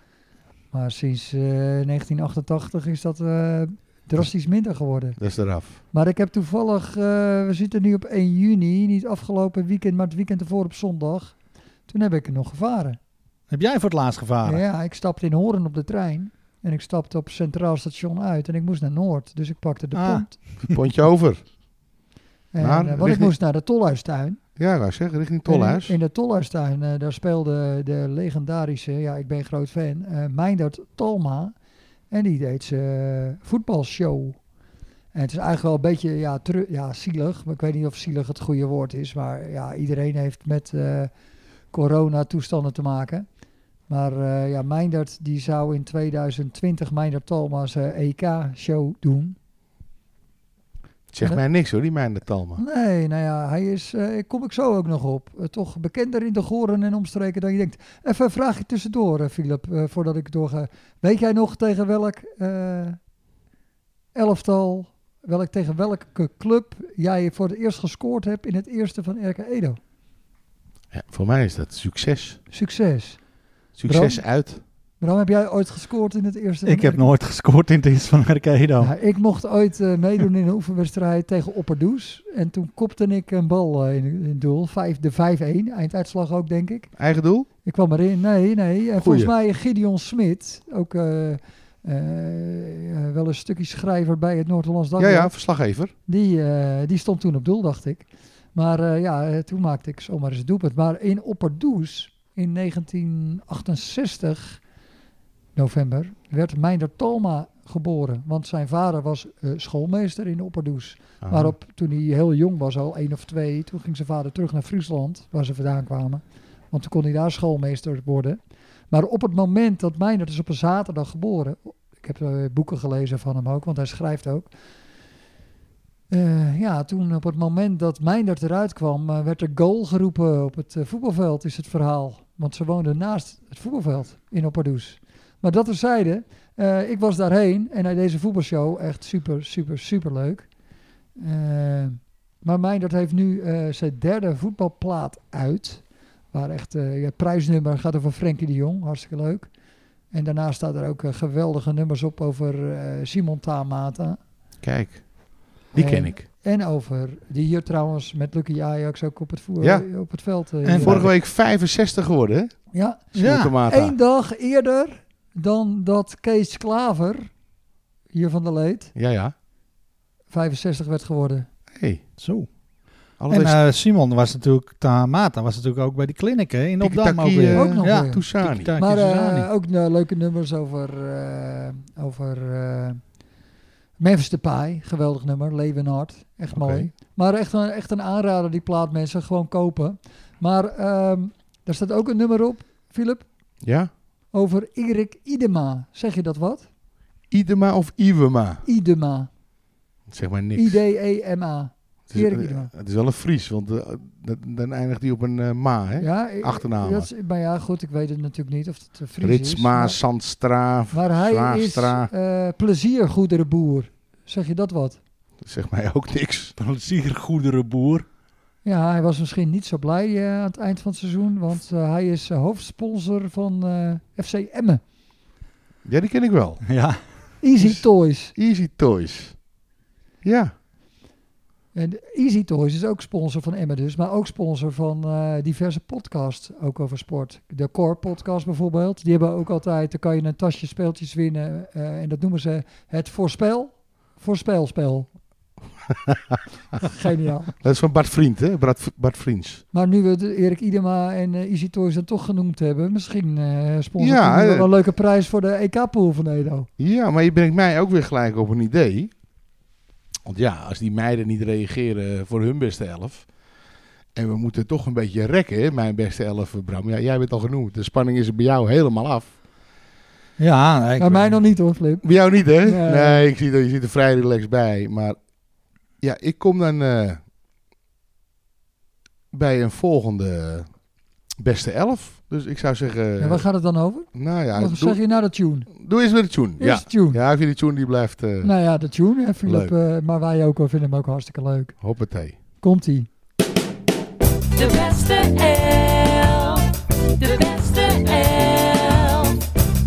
Maar sinds eh, 1988 is dat eh, drastisch minder geworden. Dat is eraf. Maar ik heb toevallig, eh, we zitten nu op 1 juni, niet afgelopen weekend, maar het weekend ervoor op zondag. Toen heb ik er nog gevaren. Heb jij voor het laatst gevaren? Ja, ik stapte in Horen op de trein en ik stapte op Centraal Station uit en ik moest naar Noord. Dus ik pakte de Ah. pont. Pontje over. En Maar eh, want ik richting- moest naar de Tolhuistuin. Ja, ik wou zeggen, richting En in- Tolhuis. In, de Tolhuistuin, eh, daar speelde de legendarische, ja, ik ben groot fan, eh Meindert Talma. En die deed zijn voetbalshow. En het is eigenlijk wel een beetje ja, teru- ja, zielig. Maar ik weet niet of zielig het goede woord is. Maar ja, iedereen heeft met eh corona-toestanden te maken. Maar eh, ja, Meindert die zou in 2020 Meindert eh, Talma zijn EK-show doen. Het zegt mij niks hoor, die mijne Talma. Nee, nou ja, hij is, eh, kom ik zo ook nog op, Eh, toch bekender in de goren en omstreken dan je denkt. Even een vraagje tussendoor, eh, Philip, eh, voordat ik doorga. Weet jij nog tegen welk eh, elftal, welk, tegen welke club jij voor het eerst gescoord hebt in het eerste van RK Edo? Ja, voor mij is dat succes. Succes. Succes Bram? uit. Bram, heb jij ooit gescoord in het eerste van Ik heb RK? nooit gescoord in het eerst van Arcado. Nou, ik mocht ooit eh, meedoen in een oefenwedstrijd tegen Opperdoes. En toen kopte ik een bal eh, in, in het doel. Vijf, de 5-1, einduitslag ook, denk ik. Eigen doel? Ik kwam erin. Nee, nee. En volgens Goeie. mij Gideon Smit, ook eh, eh, eh, wel een stukje schrijver bij het Noord-Hollands ja, Dagblad. ja, verslaggever. Die, eh, die stond toen op doel, dacht ik. Maar eh, ja, eh, toen maakte ik zomaar eens het doelpunt. Maar in Opperdoes in 1968, november, werd Meinder Talma geboren. Want zijn vader was eh, schoolmeester in Opperdoes. Ah. Waarop toen hij heel jong was, al één of twee, toen ging zijn vader terug naar Friesland, waar ze vandaan kwamen. Want toen kon hij daar schoolmeester worden. Maar op het moment dat Meijnerd is op een zaterdag geboren. Ik heb eh, boeken gelezen van hem ook, want hij schrijft ook. Eh, ja, toen op het moment dat Meijndert eruit kwam, eh, werd er goal geroepen op het eh, voetbalveld, is het verhaal. Want ze woonden naast het voetbalveld in Opperdoes. Maar dat terzijde, eh ik was daarheen en hij deed zijn voetbalshow echt super, super, super leuk. Eh, maar Meijndert heeft nu eh, zijn derde voetbalplaat uit. Waar echt, eh, ja, het prijsnummer gaat over Frenkie de Jong, hartstikke leuk. En daarnaast staan er ook eh, geweldige nummers op over eh, Simon Tamata. Kijk, die Eh, ken ik. En over, die hier trouwens met Lucky Ajax ook op het, voer, Ja. eh, op het veld. eh, En hier- Ja. Vorige week 65 geworden, hè? Ja, Ja, Smoetemata. één dag eerder dan dat Kees Klaver, hier van de leed, Ja, ja. 65 werd geworden. Hey, zo. alles En is eh, Simon was natuurlijk, Tamata was natuurlijk ook bij die clinic hè, in Opdam ook Tiki-taki, weer. eh, Ook nog ja, weer. Toussani. Tiki-taki maar eh, Suzani. ook eh, leuke nummers over, eh, over eh Memphis Depay. Geweldig nummer. Levenhard. Echt Oké. mooi. Maar echt een, echt een aanrader die plaat mensen. Gewoon kopen. Maar ehm, daar staat ook een nummer op, Philip. Ja? Over Erik Idema. Zeg je dat wat? Idema of Iwema? Idema. E Zeg maar niks. I-D-E-M-A. het, is, Erik eh, Idema. het is wel een Fries, want eh, dat- dan eindigt hij op een eh, ma, hè? Ja, ik- Achternaam. dat is- maar ja, goed. Ik weet het natuurlijk niet of het eh, Fries is. Ritsma, maar- Sandstra, Maar hij is Zwaastra. eh pleziergoederenboer. Zeg je dat wat? Dat zegt mij ook niks. goedere boer. Ja, hij was misschien niet zo blij eh, aan het eind van het seizoen, want eh, hij is eh, hoofdsponsor van eh, FC Emmen. Ja, die ken ik wel. Ja, Easy Toys. Easy Toys. Ja. En Easy Toys is ook sponsor van Emmen dus, maar ook sponsor van eh, diverse podcasts, ook over sport. De Core podcast bijvoorbeeld, die hebben ook altijd, dan kan je een tasje speeltjes winnen eh, en dat noemen ze het voorspel, voorspelspel. Geniaal. Dat is van Bart Vriend, hè? Bart, Bart Vriends. Maar nu we de Erik Idema en eh, Easy Toys dan toch genoemd hebben, misschien eh sponsoren Ja, we eh. wel een leuke prijs voor de EK-pool van Edo. Ja, maar je brengt mij ook weer gelijk op een idee. Want ja, als die meiden niet reageren voor hun beste elf... en we moeten toch een beetje rekken, hè, mijn beste elf, Bram. Ja, jij bent al genoemd. De spanning is er bij jou helemaal af. ja nee, ik ben- Maar Nou, mij nog niet hoor, Flip. Bij jou niet, hè? Nee. Nee, ik zie dat je zit er vrij relaxed bij. Maar ja, ik kom dan eh, bij een volgende beste elf. Dus ik zou zeggen... Ja, waar gaat het dan over? Nou ja, Wat zeg doe, je nou de tune? doe eens weer de tune. Eerst Ja. de tune. ja, ik vind die tune die blijft... eh Nou ja, de tune, hè, Philip. eh, maar wij ook hoor, vinden hem ook hartstikke leuk. Hoppatee. Komt-ie. De beste elf. De beste elf.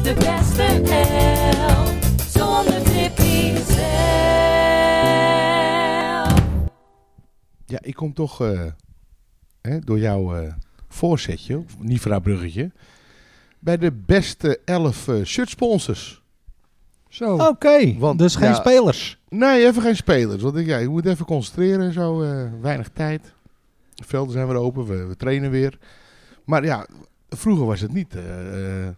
De beste elf. Zonder Tippy zelf. Ja, ik kom toch eh, hè, door jouw eh, voorzetje, of Nifra-bruggetje, bij de beste elf eh, shirtsponsors. Zo. Oh. Oké, Want, dus geen ja. spelers. Nee, even geen spelers, want ik, ja, ik moet even concentreren en zo, eh, weinig tijd. De velden zijn weer open, we, we trainen weer. Maar ja, vroeger was het niet eh, eh,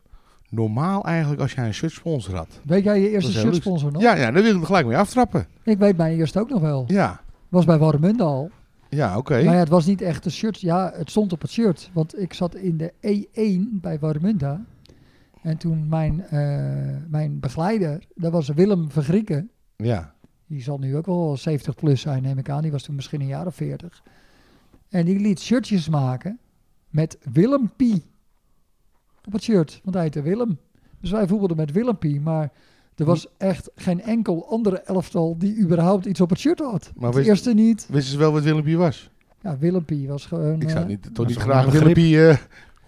normaal eigenlijk als jij een shirtsponsor had. Weet jij je eerste Dat is heel shirtsponsor nog? Ja, ja, daar wil ik er gelijk mee aftrappen. Ik weet mijn eerste ook nog wel. Ja, Was bij Warmund al. ja oké. Maar ja, het was niet echt een shirt. Ja, het stond op het shirt. Want ik zat in de E1 bij Warmunda. En toen mijn, eh, mijn begeleider, dat was Willem Vergrieken. Ja, Die zal nu ook wel 70 plus zijn, neem ik aan. Die was toen misschien een jaar of 40. En die liet shirtjes maken met Willem P. Op het shirt, want hij heette Willem. Dus wij voetbalden met Willem P. Maar er was echt geen enkel andere elftal die überhaupt iets op het shirt had. Maar het wist- eerste niet. wisten ze wel wat Willempie was? Ja, Willem P. was gewoon... Ik zou eh, niet, toch dat is niet gewoon graag een begrip. Willempie eh,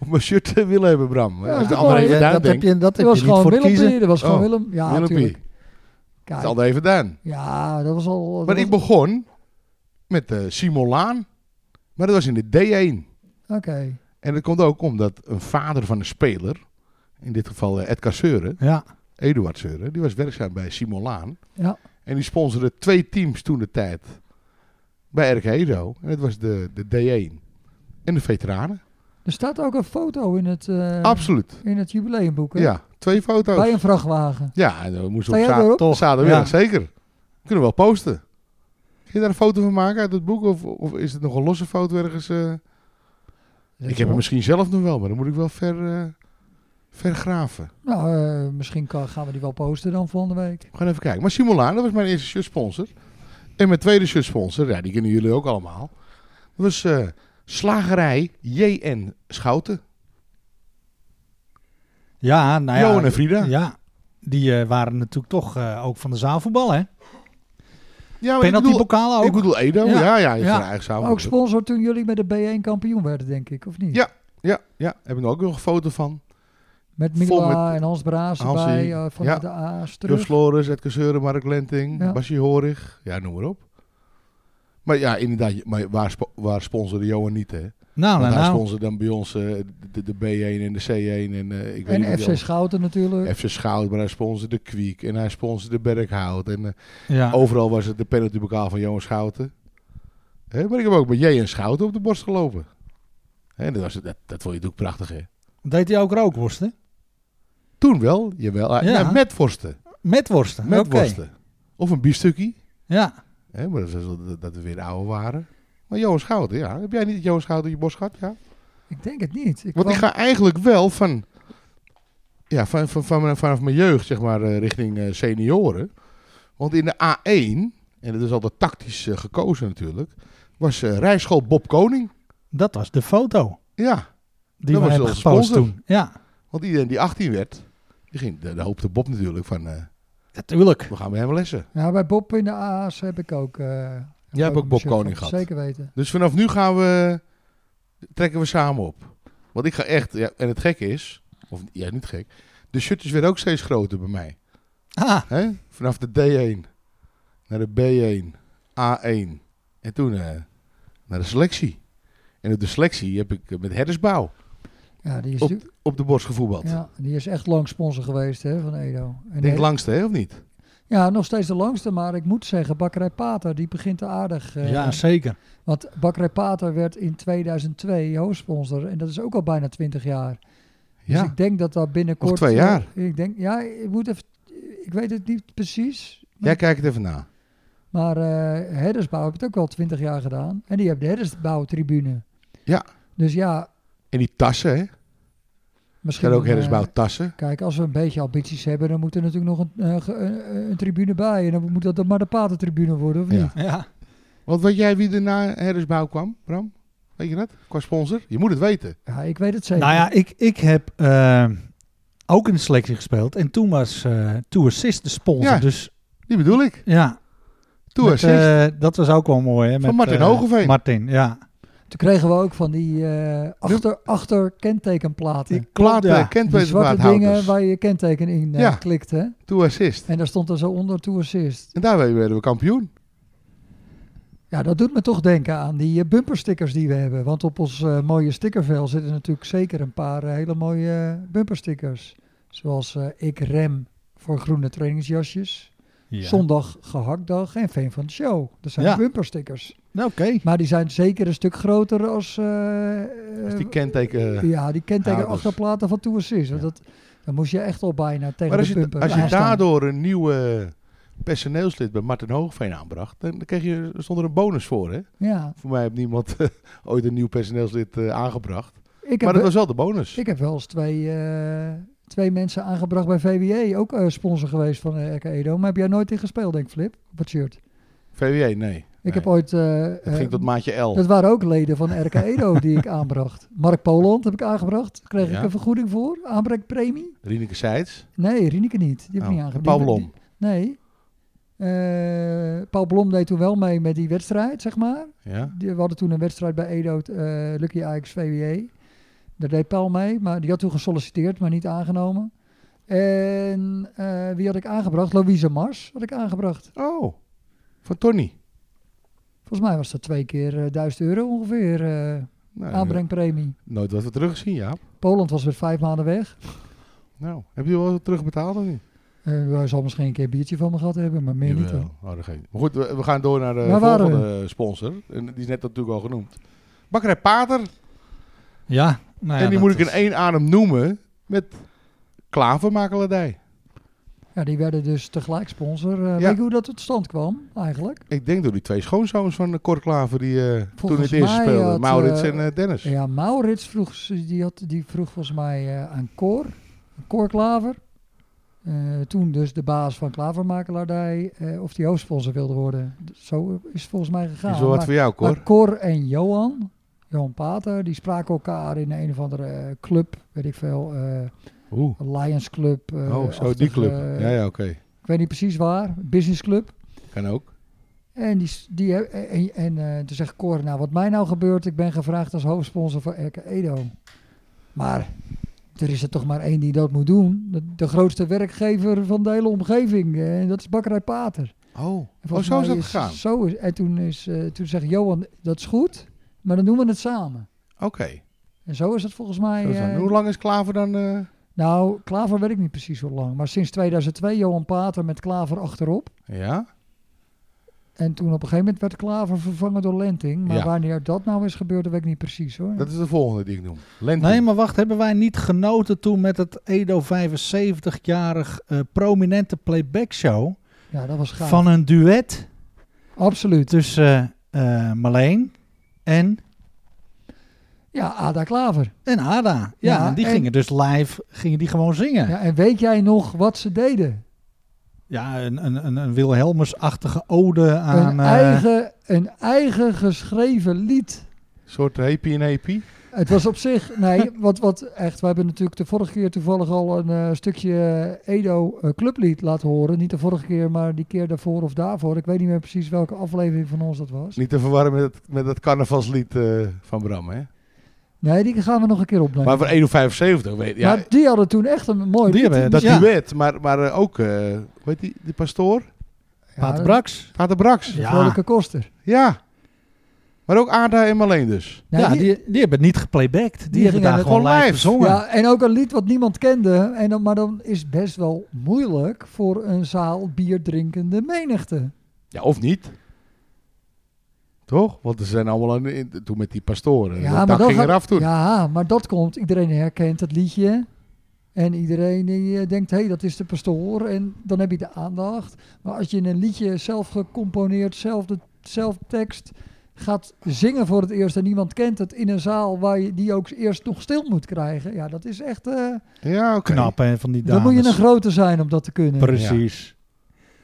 op mijn shirt eh, willen hebben, Bram. Ja, Als de dat ander wel, even ja, dat duim heb denkt. je, dat heb je Er was niet gewoon voor kiezen. Willem P. Er was gewoon Oh, Willem. Ja, Willempie. natuurlijk. Het Kijk, is al even gedaan. ja, dat was al... dat Maar ik was- begon met eh, Simon Laan. Maar dat was in de D1. Oké. En dat komt ook omdat een vader van een speler, in dit geval eh, Edgar Seuren, Ja, Eduard Seuren, die was werkzaam bij Simon Laan. Ja. En die sponsorde twee teams toen de tijd bij RK Edo. En dat was de, de D1 en de veteranen. Er staat ook een foto in het, eh, Absoluut. in het jubileumboek. hè? Ja, twee foto's. Bij een vrachtwagen. Ja, en eh, we moesten Sta op jij za- erop? toch. zaterdagmiddag, Ja. zeker. Kunnen we wel posten. Kun je daar een foto van maken uit het boek? Of, of is het nog een losse foto ergens? eh? Ik heb hem misschien zelf nog wel, maar dan moet ik wel ver, eh, vergraven. Nou, eh, misschien kan, gaan we die wel posten dan volgende week. We gaan even kijken. Maar Simulaan, dat was mijn eerste shirtsponsor. En mijn tweede shirtsponsor, ja, die kennen jullie ook allemaal. Dat was eh, slagerij JN Schouten. ja nou ja. Johan en Frida. Ja, Ja, die eh, waren natuurlijk toch eh, ook van de zaalvoetbal, hè? maar ik Penalty bedoel, bokalen ook. ik bedoel Edo. Ja. Ja, ja, ja, Ja. eigen zaal. ook sponsor toen jullie met de B1 kampioen werden, denk ik, of niet? Ja. Ja, ja, heb ik er ook nog een foto van. Met Vol Mila met- en Hans Braas Hansie, erbij, eh, vanuit ja. de A's terug. Juf Flores, Edgar Seuren, Mark Lenting, Ja. Basie Horig. Ja, noem maar op. Maar ja, inderdaad, je- maar waar, spo- waar sponsorde Johan niet, hè? nou, nou, Want hij nou. sponsorde dan bij ons eh, de, de B1 en de C1 en eh, ik weet niet wat En die FC Schouten natuurlijk. allemaal- FC Schout, maar hij sponsorde de Kwiek en hij sponsorde Berghout. En eh, Ja. overal was het de penaltybokaal van Johan Schouten. Hè, maar ik heb ook met J en Schouten op de borst gelopen. Hè, En dat, was, dat, dat vond je natuurlijk prachtig, hè? Deed hij ook rookworsten? Toen wel, jawel. Ah, Ja. nou, met worsten. Met worsten. Met oké. worsten. Of een biefstukkie. Ja. Hè, maar dat, is wel- dat- dat we weer ouder waren. Maar Johan Schouten, ja. Heb jij niet Johan Schouten op je borst gehad? Ja. Ik denk het niet. Ik Want ik kwam- ga eigenlijk wel van, ja, van, van, van, mijn- vanaf mijn jeugd, zeg maar, eh, richting eh, senioren. Want in de A1, en dat is altijd tactisch eh, gekozen natuurlijk, was eh, rijschool Bob Koning. Dat was de foto Ja, die Dat we was hebben wel gepost sponsor. toen. Ja, want iedereen die 18 werd, die ging, daar daar hoopte Bob natuurlijk van, eh, natuurlijk. we gaan bij hem lessen. Ja, bij Bob in de A's heb ik ook... eh Jij hebt ook een Bob shirt Koning van. gehad. Zeker weten. Dus vanaf nu gaan we, trekken we samen op. Want ik ga echt, ja, en het gekke is, of ja, niet gek, de shirtjes werden ook steeds groter bij mij. Ah, Hè? Vanaf de D1 naar de B1, A1 en toen eh, naar de selectie. En op de selectie heb ik eh, met Herdersbouw Ja, die is, Op- du- op de borst gevoetbald. ja, die is echt lang sponsor geweest hè, van Edo. En Ik denk de- langste, hè, of Dus niet? Ja, nog steeds de langste, maar ik moet zeggen, Bakkerij Pater, die begint te aardig. eh, ja, zeker. Want Bakkerij Pater werd in 2002 hoofdsponsor en dat is ook al bijna 20 jaar. Dus Ja. ik denk dat daar binnenkort... Nog twee jaar. eh, Ik denk, ja, ik moet even... Ik weet het niet precies, Jij kijkt het even na. maar eh Herdersbouw heeft het ook al 20 jaar gedaan. En die hebben de Herdersbouwtribune. Ja. Dus ja, En die tassen, hè? misschien... Zijn een, ook eh, Herdersbouw tassen. Kijk, als we een beetje ambities hebben, dan moet er natuurlijk nog een, eh, ge- een, een tribune bij. En dan moet dat dan maar de Patertribune worden, of niet? Ja. Ja. Want weet jij wie er na Herdersbouw kwam, Bram? Weet je dat? Qua sponsor? Je moet het weten. Ja, ik weet het zeker. Nou ja, ik, ik heb eh, ook in de selectie gespeeld. En toen was eh Two Assist de sponsor. Ja. Dus Die bedoel ik. ja, Toe met, assist. eh, dat was ook wel mooi. Hè, met, Martin eh, Hogeveen. Martin, ja. Toen kregen we ook van die eh, achter, achter kentekenplaten. Die klopt, Platen, ja. Die zwarte dingen kentwezenbaardhouders. waar je je kenteken in eh, Ja. klikt, hè? Toe assist. En daar stond er zo onder to assist. En daarmee werden we kampioen. Ja, dat doet me toch denken aan die eh, bumperstickers die we hebben. Want op ons eh, mooie stickervel zitten natuurlijk zeker een paar eh, hele mooie eh, bumperstickers. Zoals eh, ik rem voor groene trainingsjasjes. Ja. Zondag gehaktdag en fan van de show. Dat zijn Ja. bumperstickers. Nou, oké. Maar die zijn zeker een stuk groter als... eh, Als die eh, kenteken... ja, die kenteken houders. achterplaten van Tour Assist. Want Ja. dat, dan moest je echt al bijna tegen maar als de je, pumpen als je gaan staan. daardoor een nieuwe personeelslid bij Martin Hoogveen aanbracht, dan, dan kreeg je, stond er een bonus voor. Hè? Ja, Voor mij heeft niemand eh, ooit een nieuw personeelslid eh, aangebracht. ik Maar heb, dat was wel de bonus. ik heb wel eens twee, eh, twee mensen aangebracht bij VWE. Ook eh, sponsor geweest van eh RK Edo. Maar heb jij nooit in gespeeld, denk ik, Flip? Op het shirt. VWE, E, nee. Ik heb Nee. ooit... eh, Het eh, ging tot maatje L. Dat waren ook leden van RK Edo die ik aanbracht. Mark Poland heb ik aangebracht. Kreeg Ja. ik een vergoeding voor. Aanbrengpremie. Rieneke Seids. Nee, Rieneke niet. Die heb ik Oh, niet aangebracht. Paul Die- Blom. Nee. Eh, Paul Blom deed toen wel mee met die wedstrijd, zeg maar. Ja. Die- We hadden toen een wedstrijd bij Edo, eh, Lucky Ajax VWE. Daar deed Paul mee, maar die had toen gesolliciteerd, maar niet aangenomen. En eh, wie had ik aangebracht? Louise Mars had ik aangebracht. Oh, van Tony. Volgens mij was dat twee keer eh, 1000 euro ongeveer eh, Nou, aanbrengpremie. Nooit wat we teruggezien, Jaap. Poland was weer vijf maanden weg. Nou, heb je wel wat terugbetaald of niet? Eh hij zal misschien een keer een biertje van me gehad hebben, maar meer niet. Jawel. hoor. Oh, dat geeft niet. Maar goed, we, we gaan door naar de Waar waren volgende sponsor. En die is net natuurlijk al genoemd. Bakkerij Pater. Ja. Nou ja, en die dat moet ik in is- één adem noemen met klavermakeladij. Ja, die werden dus tegelijk sponsor. Eh, Weet je hoe dat tot stand kwam eigenlijk? Ik denk door die twee schoonzoons van eh, Cor Klaver die eh, toen in Volgens het eerste mij speelden. had, Maurits eh, en eh, Dennis. Ja, Maurits vroeg, ze- die, had, die vroeg volgens mij eh, aan Cor, Cor Klaver. Eh, toen dus de baas van Klavermakelaardij, eh, of die hoofdsponsor wilde worden. D- Zo is het volgens mij gegaan. is wel wat Maar- voor jou, Cor. maar Cor en Johan, Johan Pater, die spraken elkaar in een of andere eh, club, weet ik veel, eh, Oeh. Lions Club. eh, oh, zo die achtig, club. eh, ja, ja, oké. Ik weet niet precies waar, Business Club. Kan ook. En, die, die, he- en, en eh, toen zegt Cor, nou wat mij nou gebeurt, ik ben gevraagd als hoofdsponsor voor Erke Edo. Maar er is er toch maar één die dat moet doen. De, de grootste werkgever van de hele omgeving. eh, En dat is Bakkerij Pater. Oh, En oh volgens zo is mij dat gegaan. Zo is, en toen, is, eh, toen zegt Johan, dat is goed, maar dan doen we het samen. Oké. En zo is het volgens mij. Zo is dat. eh, Hoe lang is Klaver dan? eh, nou, Klaver weet ik niet precies hoe lang. Maar sinds 2002 Johan Pater met Klaver achterop. Ja. En toen op een gegeven moment werd Klaver vervangen door Lenting. Maar Ja. wanneer dat nou is gebeurd, dat weet ik niet precies hoor. Dat is de volgende die ik noem. Lente. Nee, maar wacht. Hebben wij niet genoten toen met het Edo 75-jarig eh, prominente playback show ja, dat was gaaf. van een duet Absoluut. tussen eh eh, Marleen en Ja, Ada Klaver. En Ada. Ja, Ja, en die en- gingen dus live, gingen die gewoon zingen. Ja. Ja, en weet jij nog wat ze deden? een, een, een, een Wilhelmus-achtige ode aan... een, eh, eigen, een eigen geschreven lied. Een soort happy en happy. Het was op zich, nee, wat, wat echt, we hebben natuurlijk de vorige keer toevallig al een eh, stukje eh, Edo eh, clublied laten horen. Niet de vorige keer, maar die keer daarvoor of daarvoor. Ik weet niet meer precies welke aflevering van ons dat was. Niet te verwarren met, het, met dat carnavalslied eh, van Bram. Hè? Nee, die gaan we nog een keer opnemen. Maar voor 1,75 weet ja, Maar die hadden toen echt een mooi Die lied. hebben- Dat Ja. duet, maar, maar eh, ook, eh weet die, die pastoor? Pater Ja, Brax. Pater Brax. Ja. Ja. De vrolijke koster. Maar ook Ada en Marleen dus. Nou, ja, die- die, die, hebben het niet geplaybacked. Die, die hebben gingen daar het gewoon gewoon live live. gezongen. ja, en ook een lied wat niemand kende. En dan, maar dan is best wel moeilijk voor een zaal bierdrinkende menigte. Ja, of niet? Toch? Want ze zijn allemaal aan, in- toen met die pastoren. Ja, dat maar ging gaat- eraf toen. Ja, maar dat komt. Iedereen herkent het liedje. En iedereen die eh, denkt, hé, hey, dat is de pastoor. En dan heb je de aandacht. Maar als je een liedje zelf gecomponeerd, zelf, de, zelf tekst gaat zingen voor het eerst en niemand kent het in een zaal waar je die ook eerst nog stil moet krijgen. Ja, dat is echt... eh, Ja, oké. Knap, hè, van die dan dames. moet je een grote zijn om dat te kunnen. Precies.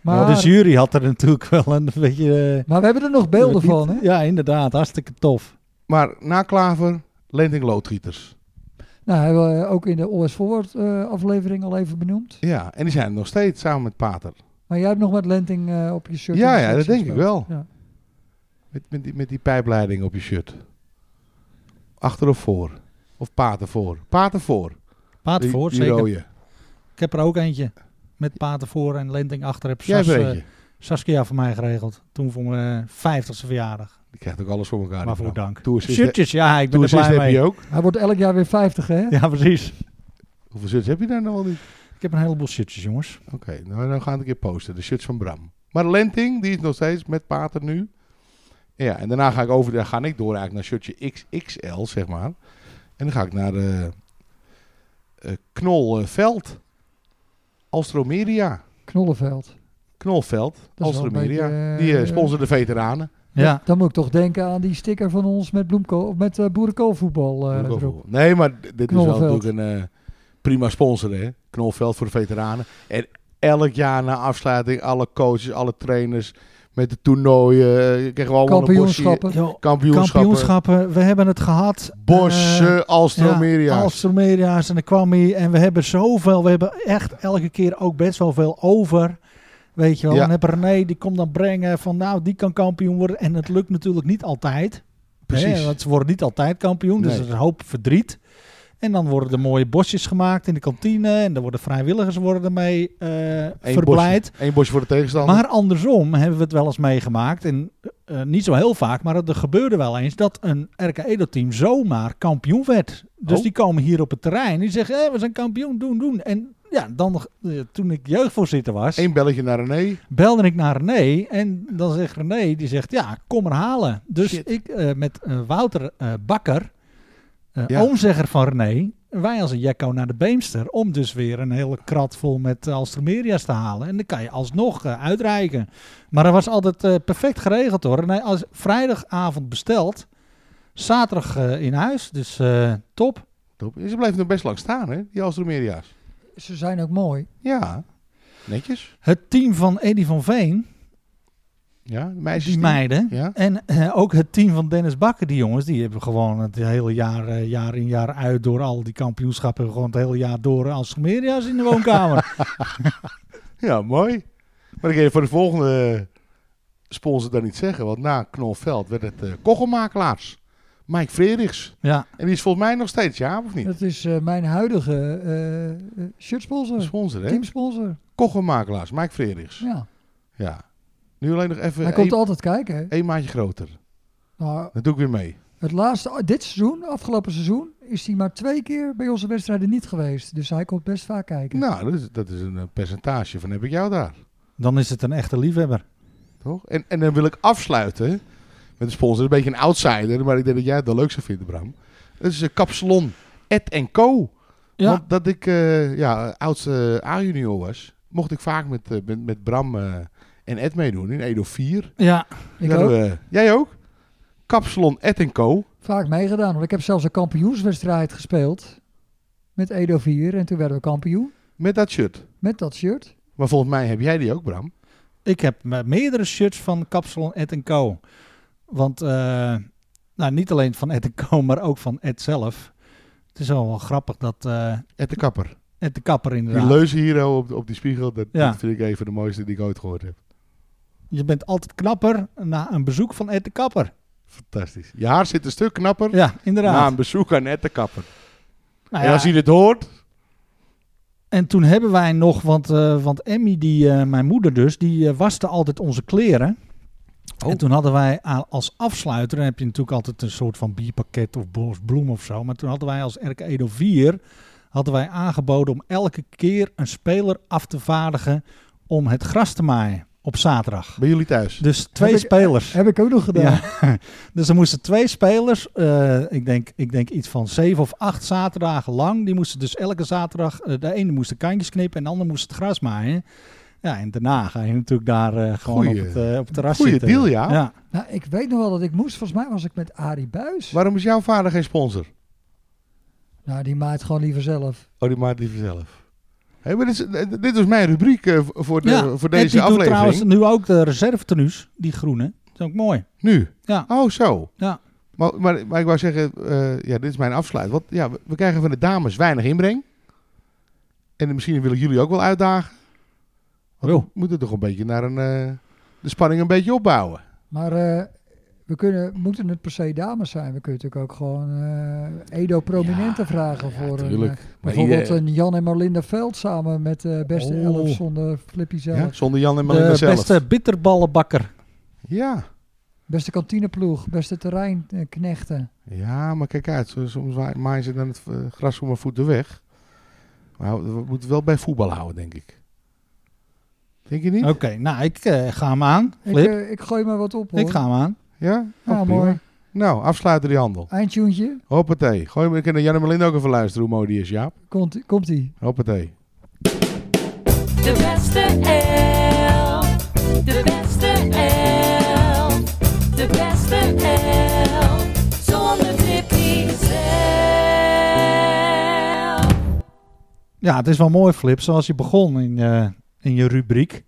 Maar, dus Nou, de jury had er natuurlijk wel een beetje... eh, maar we hebben er nog beelden niet- van, hè? Ja, inderdaad. Hartstikke tof. Maar na Klaver, Lenting Loodgieters. Nou, hebben we ook in de OS Forward eh, aflevering al even benoemd. Ja, en die zijn er nog steeds samen met Pater. Maar jij hebt nog met Lenting eh, op je shirt. Ja, in de ja, dat sectie denk ik gespeeld. wel. Ja. Met, met, die, met die pijpleiding op je shirt. Achter of voor? Of Pater voor? Pater voor. Pater Die- voor, die zeker. rode. Ik heb er ook eentje. Met Pater voor en Lenting achter heb Jij Sas, weet eh, je. Saskia voor mij geregeld. Toen voor mijn vijftigste verjaardag. Die krijgt ook alles voor elkaar. Waarvoor dank. Tours is Shirtjes, ja, ik ben er Tours blij heb mee. je ook. Hij wordt elk jaar weer 50, hè? Ja, precies. Hoeveel shirts heb je daar nou al niet? Ik heb een heleboel shirtjes, jongens. Oké, nou dan gaan we het een keer posten. De shirts van Bram. Maar Lenting, die is nog steeds met Pater nu. Ja, en daarna ga ik over, daar ga ik door eigenlijk naar shirtje XXL, zeg maar. En dan ga ik naar eh, eh, Knolveld. Alstromeria. Knollenveld. Knolveld. wel een Alstromeria. beetje, eh, Die eh, sponsoren de veteranen. Ja. Dan moet ik toch denken aan die sticker van ons met, bloemkool, of met eh, boerenkoolvoetbal eh, Moet ik ook erop. wel. nee, maar d- dit is wel Knolveld. natuurlijk een eh, prima sponsor, hè? Knolveld voor de veteranen. En elk jaar na afsluiting, alle coaches, alle trainers met de toernooien. eh, Krijgen we allemaal Een Kampioenschappen. Yo, bosje, kampioenschappen. kampioenschappen, we hebben het gehad. Bosje, Alstromeria. Ja, Alstroomeria's en de Kwami. En we hebben zoveel. We hebben echt elke keer ook best wel veel over. Weet je wel. Ja. En heb René, die komt dan brengen van nou, die kan kampioen worden. En het lukt natuurlijk niet altijd. Precies. Hè, want ze worden niet altijd kampioen. Dus Nee. er is een hoop verdriet. En dan worden er mooie bosjes gemaakt in de kantine. En er worden vrijwilligers worden ermee eh Eén verblijd. Bosje, Eén bosje voor de tegenstander. Maar andersom hebben we het wel eens meegemaakt. En eh, niet zo heel vaak, maar er gebeurde wel eens dat een RK Edo-team zomaar kampioen werd. Dus Oh. die komen hier op het terrein. Die zeggen, "Hé, we zijn kampioen, doen, doen. En ja, dan nog, eh, toen ik jeugdvoorzitter was, Eén belletje naar René. belde ik naar René. En dan zegt René, die zegt, ja, kom er halen. Dus Shit. ik eh, met eh, Wouter eh, Bakker, eh Ja. oomzegger van René... Wij als een jekko naar de Beemster om dus weer een hele krat vol met uh, te halen. En dan kan je alsnog eh, uitreiken. Maar dat was altijd eh, perfect geregeld hoor. René, als vrijdagavond besteld, zaterdag eh, in huis. Dus eh, top. Top. Ze blijven er best lang staan, hè? Die Alstromeria's. Ze zijn ook mooi. Ja. Netjes. Het team van Eddy van Veen, Ja, de meisjes. die meiden... Ja. En eh, ook het team van Dennis Bakker, die jongens, die hebben gewoon het hele jaar, eh, jaar in jaar uit door al die kampioenschappen, gewoon het hele jaar door als Gemeria's in de woonkamer. ja, mooi. Maar ik ga je voor de volgende sponsor dan niet zeggen. Want na Knolveld werd het eh Kochelmakelaars. Mike Frederiks. ja, En die is volgens mij nog steeds, ja of niet? Dat is eh, mijn huidige eh, eh, shirtsponsor, Sponsor, hè? teamsponsor. Kochelmakelaars, Mike Frederiks. Ja. Ja. Nu alleen nog even Hij één, komt altijd kijken. hè. één maatje groter. Nou, Dat doe ik weer mee. het laatste, dit seizoen, afgelopen seizoen, is hij maar twee keer bij onze wedstrijden niet geweest. Dus hij komt best vaak kijken. Nou, dat is, dat is een eh, percentage van heb ik jou daar. dan is het een echte liefhebber. Toch? En, en dan wil ik afsluiten met een sponsor. Een beetje een outsider, maar ik denk dat jij het wel leuk zou vinden, Bram. Dat is een kapsalon Ed Co. Ja. Want dat ik eh, ja, oudste A-junior was, mocht ik vaak met, eh, met, met Bram eh, en Ed meedoen in Edo 4. Ja, ik heb Daar hadden we- jij ook? Kapsalon Ed Co. vaak meegedaan, want ik heb zelfs een kampioenswedstrijd gespeeld met Edo 4 en toen werden we kampioen Met dat shirt. met dat shirt. Maar volgens mij heb jij die ook, Bram. ik heb me- meerdere shirts van Kapsalon Ed Co. Want, eh, nou niet alleen van Ed Co, maar ook van Ed zelf. Het is wel, wel grappig dat eh, Ed de Kapper. Ed de Kapper Die inderdaad. leuze hier op, op die spiegel, dat, Ja. dat vind ik even de mooiste die ik ooit gehoord heb. Je bent altijd knapper na een bezoek van Ed de Kapper. Fantastisch. Je haar zit een stuk knapper Ja, inderdaad. na een bezoek aan Ed de Kapper. Nou En ja, als hij dit hoort, En toen hebben wij nog, want, eh, want Emmy, die, eh, mijn moeder dus, die eh, waste altijd onze kleren. Oh. En toen hadden wij a- als afsluiter, dan heb je natuurlijk altijd een soort van bierpakket of bos bloem of zo. Maar toen hadden wij als RK Edo 4, hadden wij aangeboden om elke keer een speler af te vaardigen om het gras te maaien op zaterdag. bij jullie thuis. Dus twee ik- spelers. Heb ik ook nog gedaan. Ja. dus er moesten twee spelers, eh, ik, denk, ik denk iets van zeven of acht zaterdagen lang, die moesten dus elke zaterdag, eh, de ene moest de kantjes knippen en de ander moest het gras maaien. Ja, en daarna ga je natuurlijk daar eh, gewoon Goeie- op het, eh, op het terras goeie zitten. deal, ja. ja. Nou, ik weet nog wel dat ik moest. Volgens mij was ik met Arie Buis. Waarom is jouw vader geen sponsor? Nou, die maait gewoon liever zelf. Oh, die maakt liever zelf. Hé, maar dit, is, dit was mijn rubriek eh, voor, de, Ja, voor en die deze doet aflevering. trouwens nu ook de reserve tenues, die groene. Dat is ook mooi. Nu? Ja. Oh, zo. Ja. Maar, maar, maar ik wou zeggen, eh, ja, dit is mijn afsluit. Want ja, we, we krijgen van de dames weinig inbreng. En misschien willen jullie ook wel uitdagen. Wil. We moeten toch een beetje naar een, eh, de spanning een beetje opbouwen. Maar eh, we kunnen, moeten het per se dames zijn. We kunnen natuurlijk ook gewoon eh, Edo prominente vragen voor een, tuurlijk. eh, Maar bijvoorbeeld ieder- een Jan en Marlinda Veld samen met eh beste Oh. elf zonder Flippy zelf. ja, zonder Jan en Melinda De zelf. beste bitterballenbakker. Ja. Beste kantineploeg, beste terreinknechten. ja, maar kijk uit. Soms waai- maaien ze dan het eh, gras voor mijn voeten weg. Maar we moeten het wel bij voetbal houden, denk ik. Denk je niet? Oké, nou ik eh, ga hem aan. Ik, Flip, eh, ik gooi maar wat op hoor. ik ga hem aan. Ja? Ja, Oh, prima. mooi. Nou, afsluiten die handel. Eindtuntje. Hoppatee. Gooi hem, ik kan er Janne Melinda ook even luisteren hoe mooi die is, Jaap. Komt, komt ie. Hoppatee. De beste elf. De beste elf. De beste elf. Zonder Flippy zelf. Ja, het is wel mooi, Flip, zoals je begon in, eh, in je rubriek.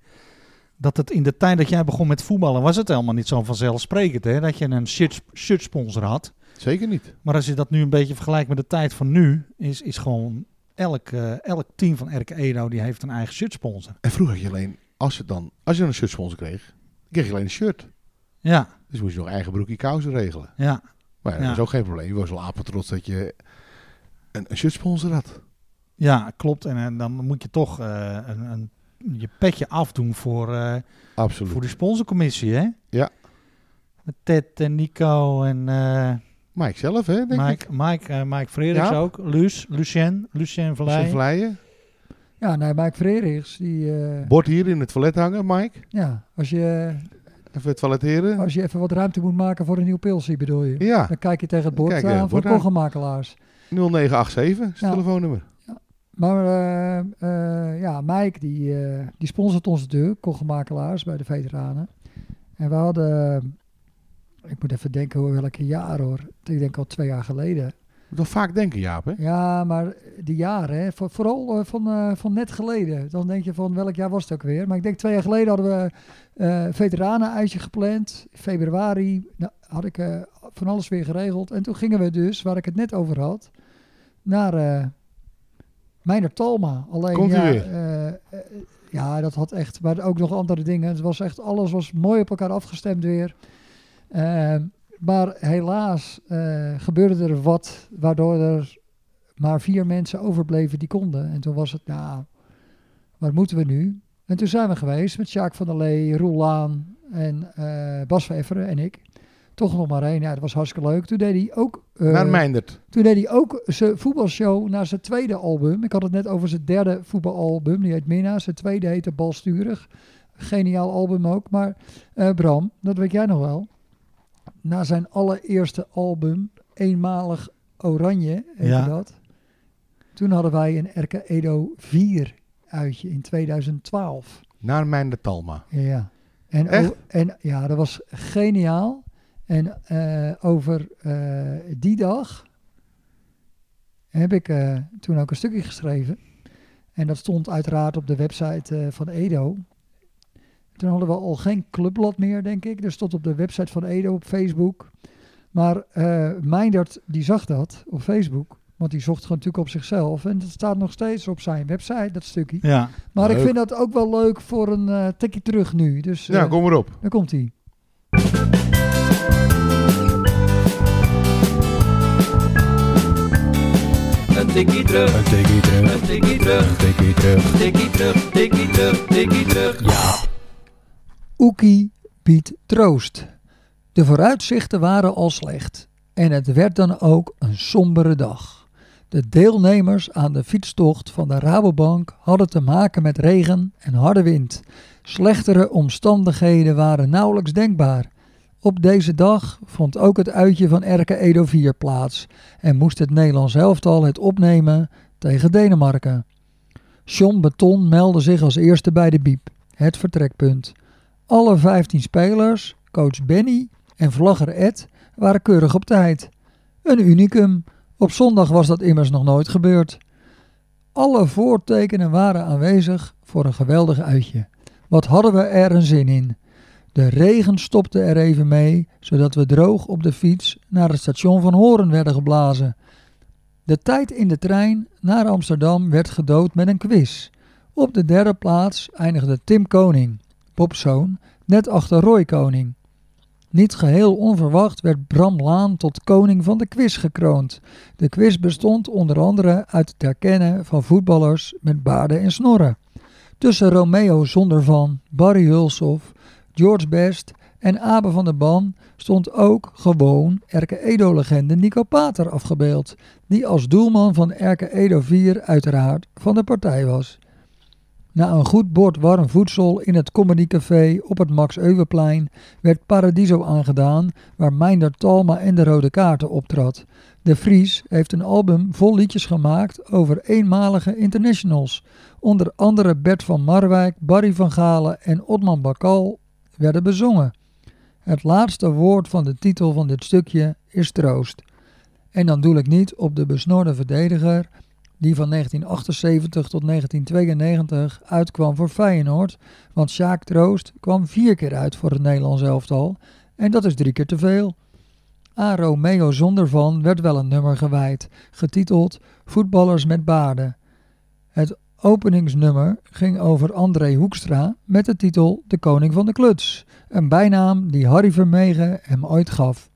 Dat het in de tijd dat jij begon met voetballen, was het helemaal niet zo vanzelfsprekend. Hè? Dat je een shirt, shirtsponsor had. Zeker niet. Maar als je dat nu een beetje vergelijkt met de tijd van nu, is, is gewoon elk, eh, elk team van RK Edo die heeft een eigen shirtsponsor. En vroeger had je alleen, als, het dan, als je dan een shirt sponsor kreeg, kreeg je alleen een shirt. Ja, Dus moest je nog eigen broekje kousen regelen. ja. Maar ja, dat Ja. is ook geen probleem. Je was wel apetrots dat je een, een shirt sponsor had. Ja, klopt. En, eh, dan moet je toch eh, een, een, je petje afdoen voor, eh, Absoluut. voor de sponsorcommissie, hè? Ja. Met Ted en Nico en eh, Mike zelf, hè, denk ik. Mike, Mike, eh, Mike Frederiks Ja. ook. Luus, Lucien, Lucien Zijn Verleij. vleien. Ja, nee, Mike Frerichs. Die, eh, Bord hier in het toilet hangen, Mike. ja, als je, Even toiletteren. als je even wat ruimte moet maken voor een nieuw pilsie, bedoel je. Ja, Dan kijk je tegen het bord Kijk, eh, aan voor bord de aan. programmakelaars. 0987 is het Ja. telefoonnummer. Maar eh, eh, ja, Mike die, eh, die sponsort ons natuurlijk, kogelmakelaars bij de veteranen. En we hadden, eh, ik moet even denken hoe welke jaar hoor. Ik denk al twee jaar geleden. Moet wel vaak denken, Jaap, hè? Ja, maar die jaren, hè, voor- vooral eh, van, eh, van net geleden. Dan denk je van welk jaar was het ook weer. Maar ik denk twee jaar geleden hadden we eh veteranen-ijsje gepland. Februari nou, had ik eh, van alles weer geregeld. En toen gingen we dus, waar ik het net over had, naar eh Meijner Talma. Alleen, Komt u ja, weer. eh, eh, ja, dat had echt, maar ook nog andere dingen. Het was echt, alles was mooi op elkaar afgestemd weer. Ehm, maar helaas eh, gebeurde er wat waardoor er maar vier mensen overbleven die konden. En toen was het, nou, wat moeten we nu? En toen zijn we geweest met Sjaak van der Lee, Roel Laan en eh, Bas Vefferen en ik. Toch nog maar één. Ja, dat was hartstikke leuk. Toen deed hij ook... eh, Naar Meindert. toen deed hij ook zijn voetbalshow naar zijn tweede album. Ik had het net over zijn derde voetbalalbum. Die heet Minna. Zijn tweede heette Balsturig. Geniaal album ook. Maar eh, Bram, dat weet jij nog wel. Na zijn allereerste album, eenmalig Oranje, heette Ja. dat. Toen hadden wij een Erke Edo 4 uitje in 2012. Naar Meindert Talma. Ja. En, Echt? o- en ja, dat was geniaal. En eh, over eh, die dag heb ik eh, toen ook een stukje geschreven. En dat stond uiteraard op de website eh, van Edo. Toen hadden we al geen clubblad meer, denk ik. Dus stond op de website van Edo op Facebook. Maar eh Meindert, die zag dat op Facebook. Want die zocht gewoon natuurlijk op zichzelf. En dat staat nog steeds op zijn website, dat stukje. Ja, Maar ik Leuk. vind dat ook wel leuk voor een eh tikje terug nu. Dus eh, Ja, Nou, kom maar op. daar komt hij. Een tikkie terug, Een tikkie terug. een tikkie terug, Een tikkie terug. tikkie terug, tikkie terug, tikkie terug. Oekie biedt troost. De vooruitzichten waren al slecht en het werd dan ook een sombere dag. De deelnemers aan de fietstocht van de Rabobank hadden te maken met regen en harde wind. Slechtere omstandigheden waren nauwelijks denkbaar. Op deze dag vond ook het uitje van Erke Edo 4 plaats en moest het Nederlands elftal het opnemen tegen Denemarken. John Beton meldde zich als eerste bij de biep, het vertrekpunt. Alle 15 spelers, coach Benny en vlagger Ed waren keurig op tijd. Een unicum. Op zondag was dat immers nog nooit gebeurd. Alle voortekenen waren aanwezig voor een geweldig uitje. Wat hadden we er een zin in? De regen stopte er even mee, zodat we droog op de fiets naar het station van Horen werden geblazen. De tijd in de trein naar Amsterdam werd gedood met een quiz. Op de derde plaats eindigde Tim Koning. Bob's zoon, net achter Roy Koning. Niet geheel onverwacht werd Bram Laan tot koning van de quiz gekroond. De quiz bestond onder andere uit het herkennen van voetballers met baarden en snorren. Tussen Romeo Zondervan, Barry Hulshoff, George Best en Abe van der Ban stond ook gewoon Erke Edo-legende Nico Pater afgebeeld, die als doelman van Erke Edo 4 uiteraard van de partij was. Na een goed bord warm voedsel in het Comedy Café op het Max Euweplein werd Paradiso aangedaan, waar Meindert Talma en de Rode Kaarten optrad. De Vries heeft een album vol liedjes gemaakt over eenmalige internationals. Onder andere Bert van Marwijk, Barry van Galen en Otman Bakal werden bezongen. Het laatste woord van de titel van dit stukje is troost. En dan doe ik niet op de besnorde verdediger die van 1978 tot 1992 uitkwam voor Feyenoord, want Sjaak Troost kwam vier keer uit voor het Nederlands elftal en dat is drie keer te veel. Aan Romeo Zondervan werd wel een nummer gewijd, getiteld Voetballers met baarden. Het openingsnummer ging over André Hoekstra met de titel De Koning van de Kluts, een bijnaam die Harry Vermegen hem ooit gaf.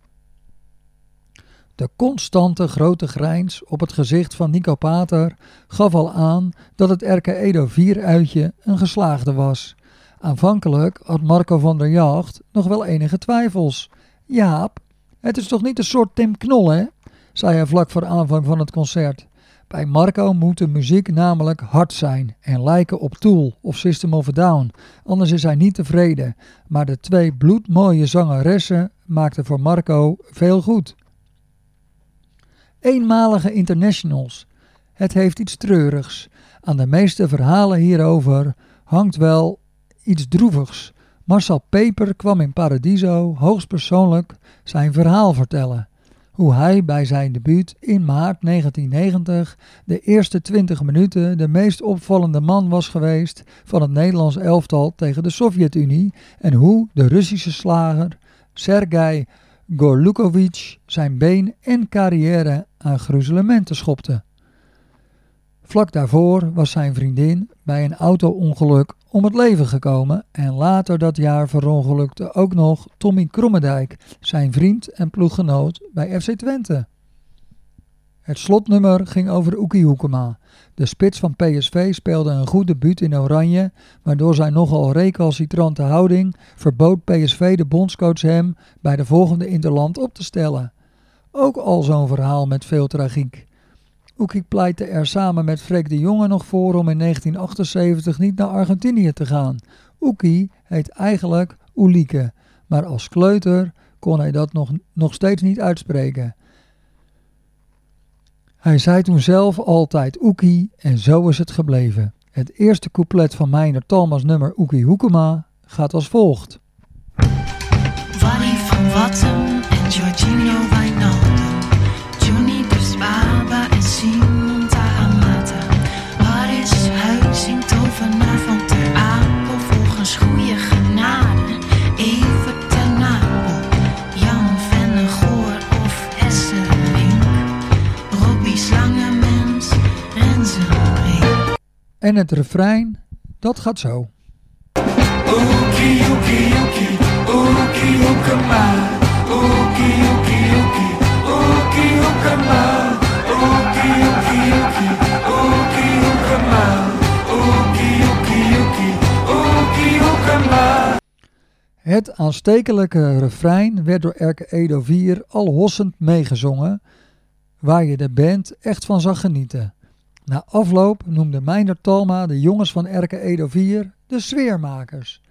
De constante grote grijns op het gezicht van Nico Pater gaf al aan dat het RK Edo 4-uitje een geslaagde was. Aanvankelijk had Marco van der Jacht nog wel enige twijfels. Jaap, het is toch niet een soort Tim Knol, hè? zei hij vlak voor aanvang van het concert. Bij Marco moet de muziek namelijk hard zijn en lijken op Tool of System of a Down, anders is hij niet tevreden. Maar de twee bloedmooie zangeressen maakten voor Marco veel goed. Eenmalige internationals. Het heeft iets treurigs. Aan de meeste verhalen hierover hangt wel iets droevigs. Marcel Peper kwam in Paradiso hoogstpersoonlijk zijn verhaal vertellen. Hoe hij bij zijn debuut in maart 1990 de eerste 20 minuten de meest opvallende man was geweest van het Nederlands elftal tegen de Sovjet-Unie en hoe de Russische slager Sergei Gorlukovic zijn been en carrière aan gruzelementen schopte. Vlak daarvoor was zijn vriendin bij een auto-ongeluk om het leven gekomen en later dat jaar verongelukte ook nog Tommy Krommendijk, zijn vriend en ploeggenoot bij FC Twente. Het slotnummer ging over Oekie Hoekema. De spits van PSV speelde een goed debuut in Oranje, maar door zijn nogal recalcitrante houding verbood PSV de bondscoach hem bij de volgende Interland op te stellen. Ook al zo'n verhaal met veel tragiek. Oekie pleitte er samen met Freek de Jonge nog voor om in 1978 niet naar Argentinië te gaan. Oekie heet eigenlijk Oelieke, maar als kleuter kon hij dat nog, nog steeds niet uitspreken. Hij zei toen zelf altijd Oekie en zo is het gebleven. Het eerste couplet van Meijner Talmas nummer Oekie Hoekema gaat als volgt. Wally van Watten en Jorginho Wijnaldum. Johnny de Spaba en Simon Tahamata. Harris Huizing, tovenaar van Ter Apel. Volgens goede genade, even ten Napel. Jan Vennegoor of Hesselink. Robbie Slangemens en zijn brink. En het refrein, dat gaat zo. Oekie, oekie, oekie, oekie, oekema. Oekie, oekie, oekie, oekie, oekema. Oekie, oekie, oekie, oekie, oekema. Oekie, oekie, oekie, oekie, oekema. Het aanstekelijke refrein werd door Erke Edo 4 al hossend meegezongen, waar je de band echt van zag genieten. Na afloop noemde Meijner Talma de jongens van Erke Edo 4 de sfeermakers.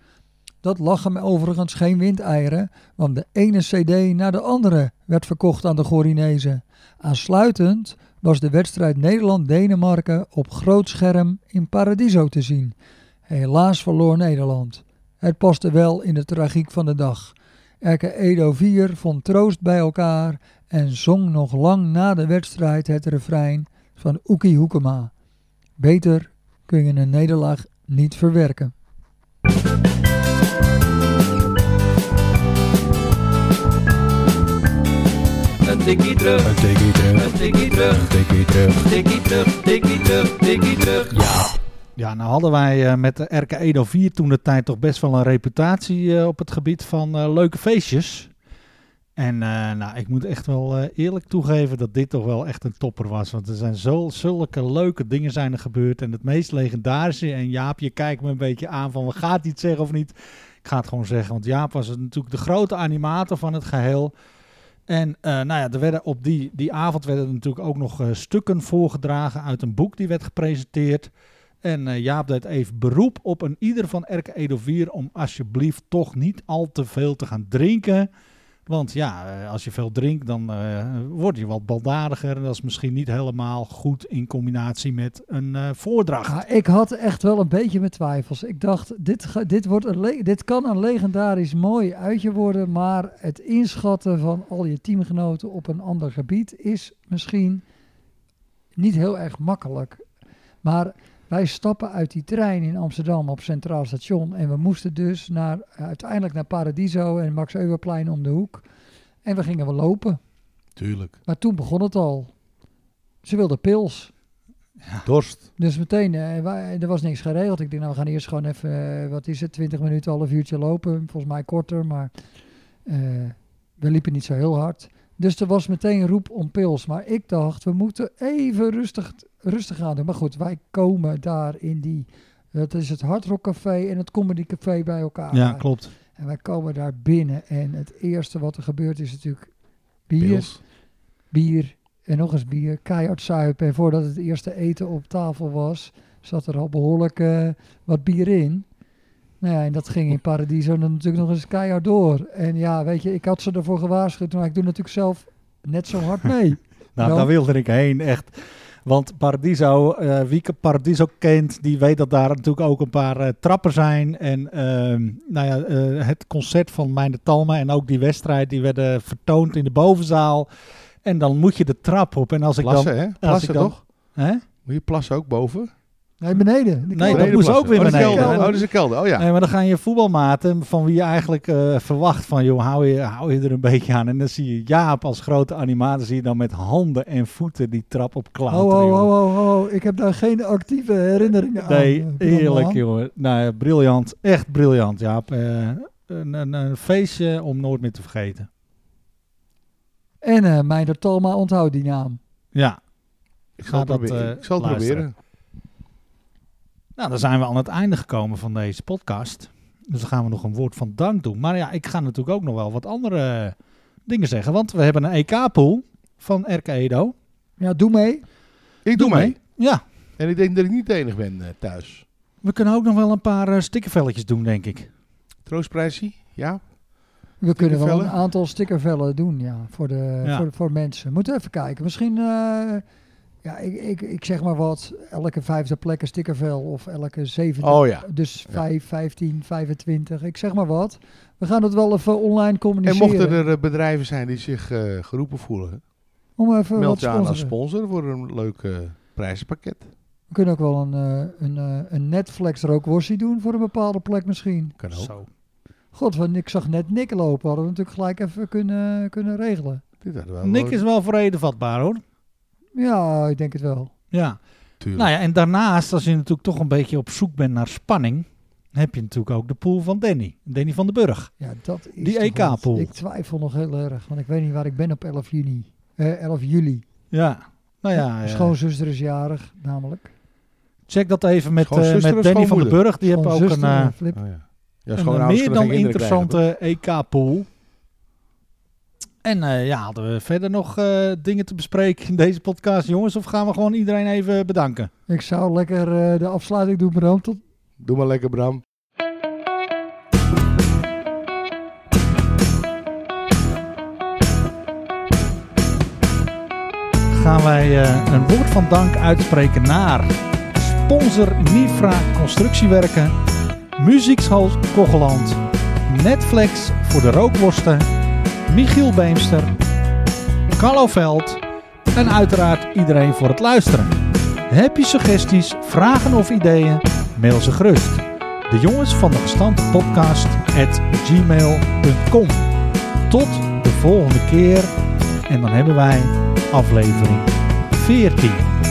Dat lag hem overigens geen windeieren, want de ene cd na de andere werd verkocht aan de Gorinezen. Aansluitend was de wedstrijd Nederland-Denemarken op groot scherm in Paradiso te zien. Helaas verloor Nederland. Het paste wel in de tragiek van de dag. Erke Edo 4 vond troost bij elkaar en zong nog lang na de wedstrijd het refrein van Oekie Hoekema. Beter kun je een nederlaag niet verwerken. Een tikkie terug, Een tikkie terug. een tikkie terug, Een tikkie terug. tikkie terug, tikkie terug, tikkie terug. Ja, nou hadden wij eh, met de RK Edo 4 toen de tijd toch best wel een reputatie eh, op het gebied van eh, leuke feestjes. En eh, nou, ik moet echt wel eh, eerlijk toegeven dat dit toch wel echt een topper was. Want er zijn zo, zulke leuke dingen zijn er gebeurd. En het meest legendarische, en Jaap, je kijkt me een beetje aan van, gaat hij het zeggen of niet? Ik ga het gewoon zeggen, want Jaap was natuurlijk de grote animator van het geheel. En eh, nou ja, er werden op die, die avond werden er natuurlijk ook nog eh, stukken voorgedragen uit een boek die werd gepresenteerd. En eh, Jaap deed even beroep op een ieder van Erke Edo 4 om alsjeblieft toch niet al te veel te gaan drinken. Want ja, eh, als je veel drinkt, dan eh, word je wat baldadiger. En dat is misschien niet helemaal goed in combinatie met een eh, voordracht. Ja, ik had echt wel een beetje mijn twijfels. Ik dacht, dit, ga- dit, wordt een le- dit kan een legendarisch mooi uitje worden, maar het inschatten van al je teamgenoten op een ander gebied is misschien niet heel erg makkelijk. Maar wij stappen uit die trein in Amsterdam op Centraal Station en we moesten dus naar, uiteindelijk naar Paradiso en Max Euwerplein om de hoek. En we gingen wel lopen, Tuurlijk. maar toen begon het al. Ze wilde pils. Ah. Dorst. Dus meteen, eh, wij- er was niks geregeld. Ik denk, nou, we gaan eerst gewoon even, eh, wat is het, 20 minuten, half uurtje lopen. Volgens mij korter, maar eh, we liepen niet zo heel hard. Dus er was meteen roep om pils. Maar ik dacht, we moeten even rustig, rustig aan doen. Maar goed, wij komen daar in die, dat is het Hard Rock Café en het Comedy Café bij elkaar. Ja, klopt. En wij komen daar binnen en het eerste wat er gebeurt is natuurlijk bier Pils. bier en nog eens bier, keihard zuipen. En voordat het eerste eten op tafel was, zat er al behoorlijk eh, wat bier in. Nou ja, en dat ging in Paradiso dan natuurlijk nog eens keihard door. En ja, weet je, ik had ze ervoor gewaarschuwd, maar ik doe natuurlijk zelf net zo hard mee. Nou, Ja. daar wilde ik heen, echt. Want Paradiso, eh wie ke- Paradiso kent, die weet dat daar natuurlijk ook een paar eh, trappen zijn. En ehm, nou ja, eh, het concert van Mijn de Talma en ook die wedstrijd, die werden vertoond in de bovenzaal. En dan moet je de trap op. En als ik Plassen, hè? Plassen, dan- toch? dan... Hè? Moet je plassen ook boven? Nee, beneden. De Nee, kelder. dat moest plassen. ook weer oh, dat is beneden. kelder. Oh, dat is een kelder. Oh ja. Nee, maar dan gaan je voetbalmaten van wie je eigenlijk eh, verwacht van, joh, hou je, hou je er een beetje aan. En dan zie je Jaap als grote animator, zie je dan met handen en voeten die trap op Ho, klauteren. ho, joh. ho, ho, ho. Ik heb daar geen actieve herinneringen aan. Nee, eh, Bram eerlijk Haan. jongen. Nou ja, briljant. Echt briljant, Jaap. Eh, een, een, een feestje om nooit meer te vergeten. En eh Meinder Talma, onthoud die naam. Ja, Ik zal het Ga dat, proberen. eh, Ik zal het luisteren. proberen. nou dan zijn we aan het einde gekomen van deze podcast. Dus dan gaan we nog een woord van dank doen. Maar ja, ik ga natuurlijk ook nog wel wat andere dingen zeggen. Want we hebben een EK-pool van RK Edo. Ja, doe mee. Ik doe mee. Ja, En ik denk dat ik niet de enige ben eh, thuis. we kunnen ook nog wel een paar eh stickervelletjes doen, denk ik. Troostprijsje? Ja. We kunnen wel een Stickervellen? aantal stickervellen doen, ja, voor, de, Ja. Voor, voor mensen. Moeten we even kijken. Misschien, eh, ja, ik, ik, ik zeg maar wat, elke vijfde plek een stickervel of elke zevende. Oh ja. Dus Ja. 5, 15, 25, ik zeg maar wat. We gaan het wel even online En communiceren. mochten er eh, bedrijven zijn die zich eh, geroepen voelen, Om even meld wat je aan als sponsoren. sponsor voor een leuk eh, prijzenpakket. We kunnen ook wel een, eh, een, eh, een Netflix rookworsie doen voor een bepaalde plek misschien. Kan ook. Zo. God, want ik zag net Nick lopen. Hadden we natuurlijk gelijk even kunnen, kunnen regelen. Dit hadden we wel Nick leuk. is wel voor reden vatbaar, hoor. Ja, ik denk het wel. Ja. Tuurlijk. Nou ja, en daarnaast, als je natuurlijk toch een beetje op zoek bent naar spanning, heb je natuurlijk ook de pool van Danny. Danny van den Burg. Ja, dat is Die E toch EK pool. wat. Ik twijfel nog heel erg, want ik weet niet waar ik ben op 11 juni. Eh, 11 juli. Ja. Nou ja, Mijn eh, schoonzuster is jarig, namelijk. check dat even met, eh, Schoonzuster met of Danny van den schoonmoeder? Burg. Die hebben ook een, Schoonzuster, eh, eh, Flip. Oh, ja. Ja, een schoonouders meer kunnen dan geen kinderen krijgen, toch? interessante EK-pool. En eh, ja, hadden we verder nog eh, dingen te bespreken in deze podcast, jongens? Of gaan we gewoon iedereen even bedanken? Ik zou lekker eh, de afsluiting doen, Bram. Tot Doe maar lekker, Bram. Gaan wij eh, een woord van dank uitspreken naar sponsor Nifra Constructiewerken, Muziekschool Kogeland, Netflix voor de rookworsten, Michiel Beemster, Carlo Veld en uiteraard iedereen voor het luisteren. Heb je suggesties, vragen of ideeën? Mail ze gerust. De jongens van de gestante podcast at gmail.com. Tot de volgende keer en dan hebben wij aflevering 14.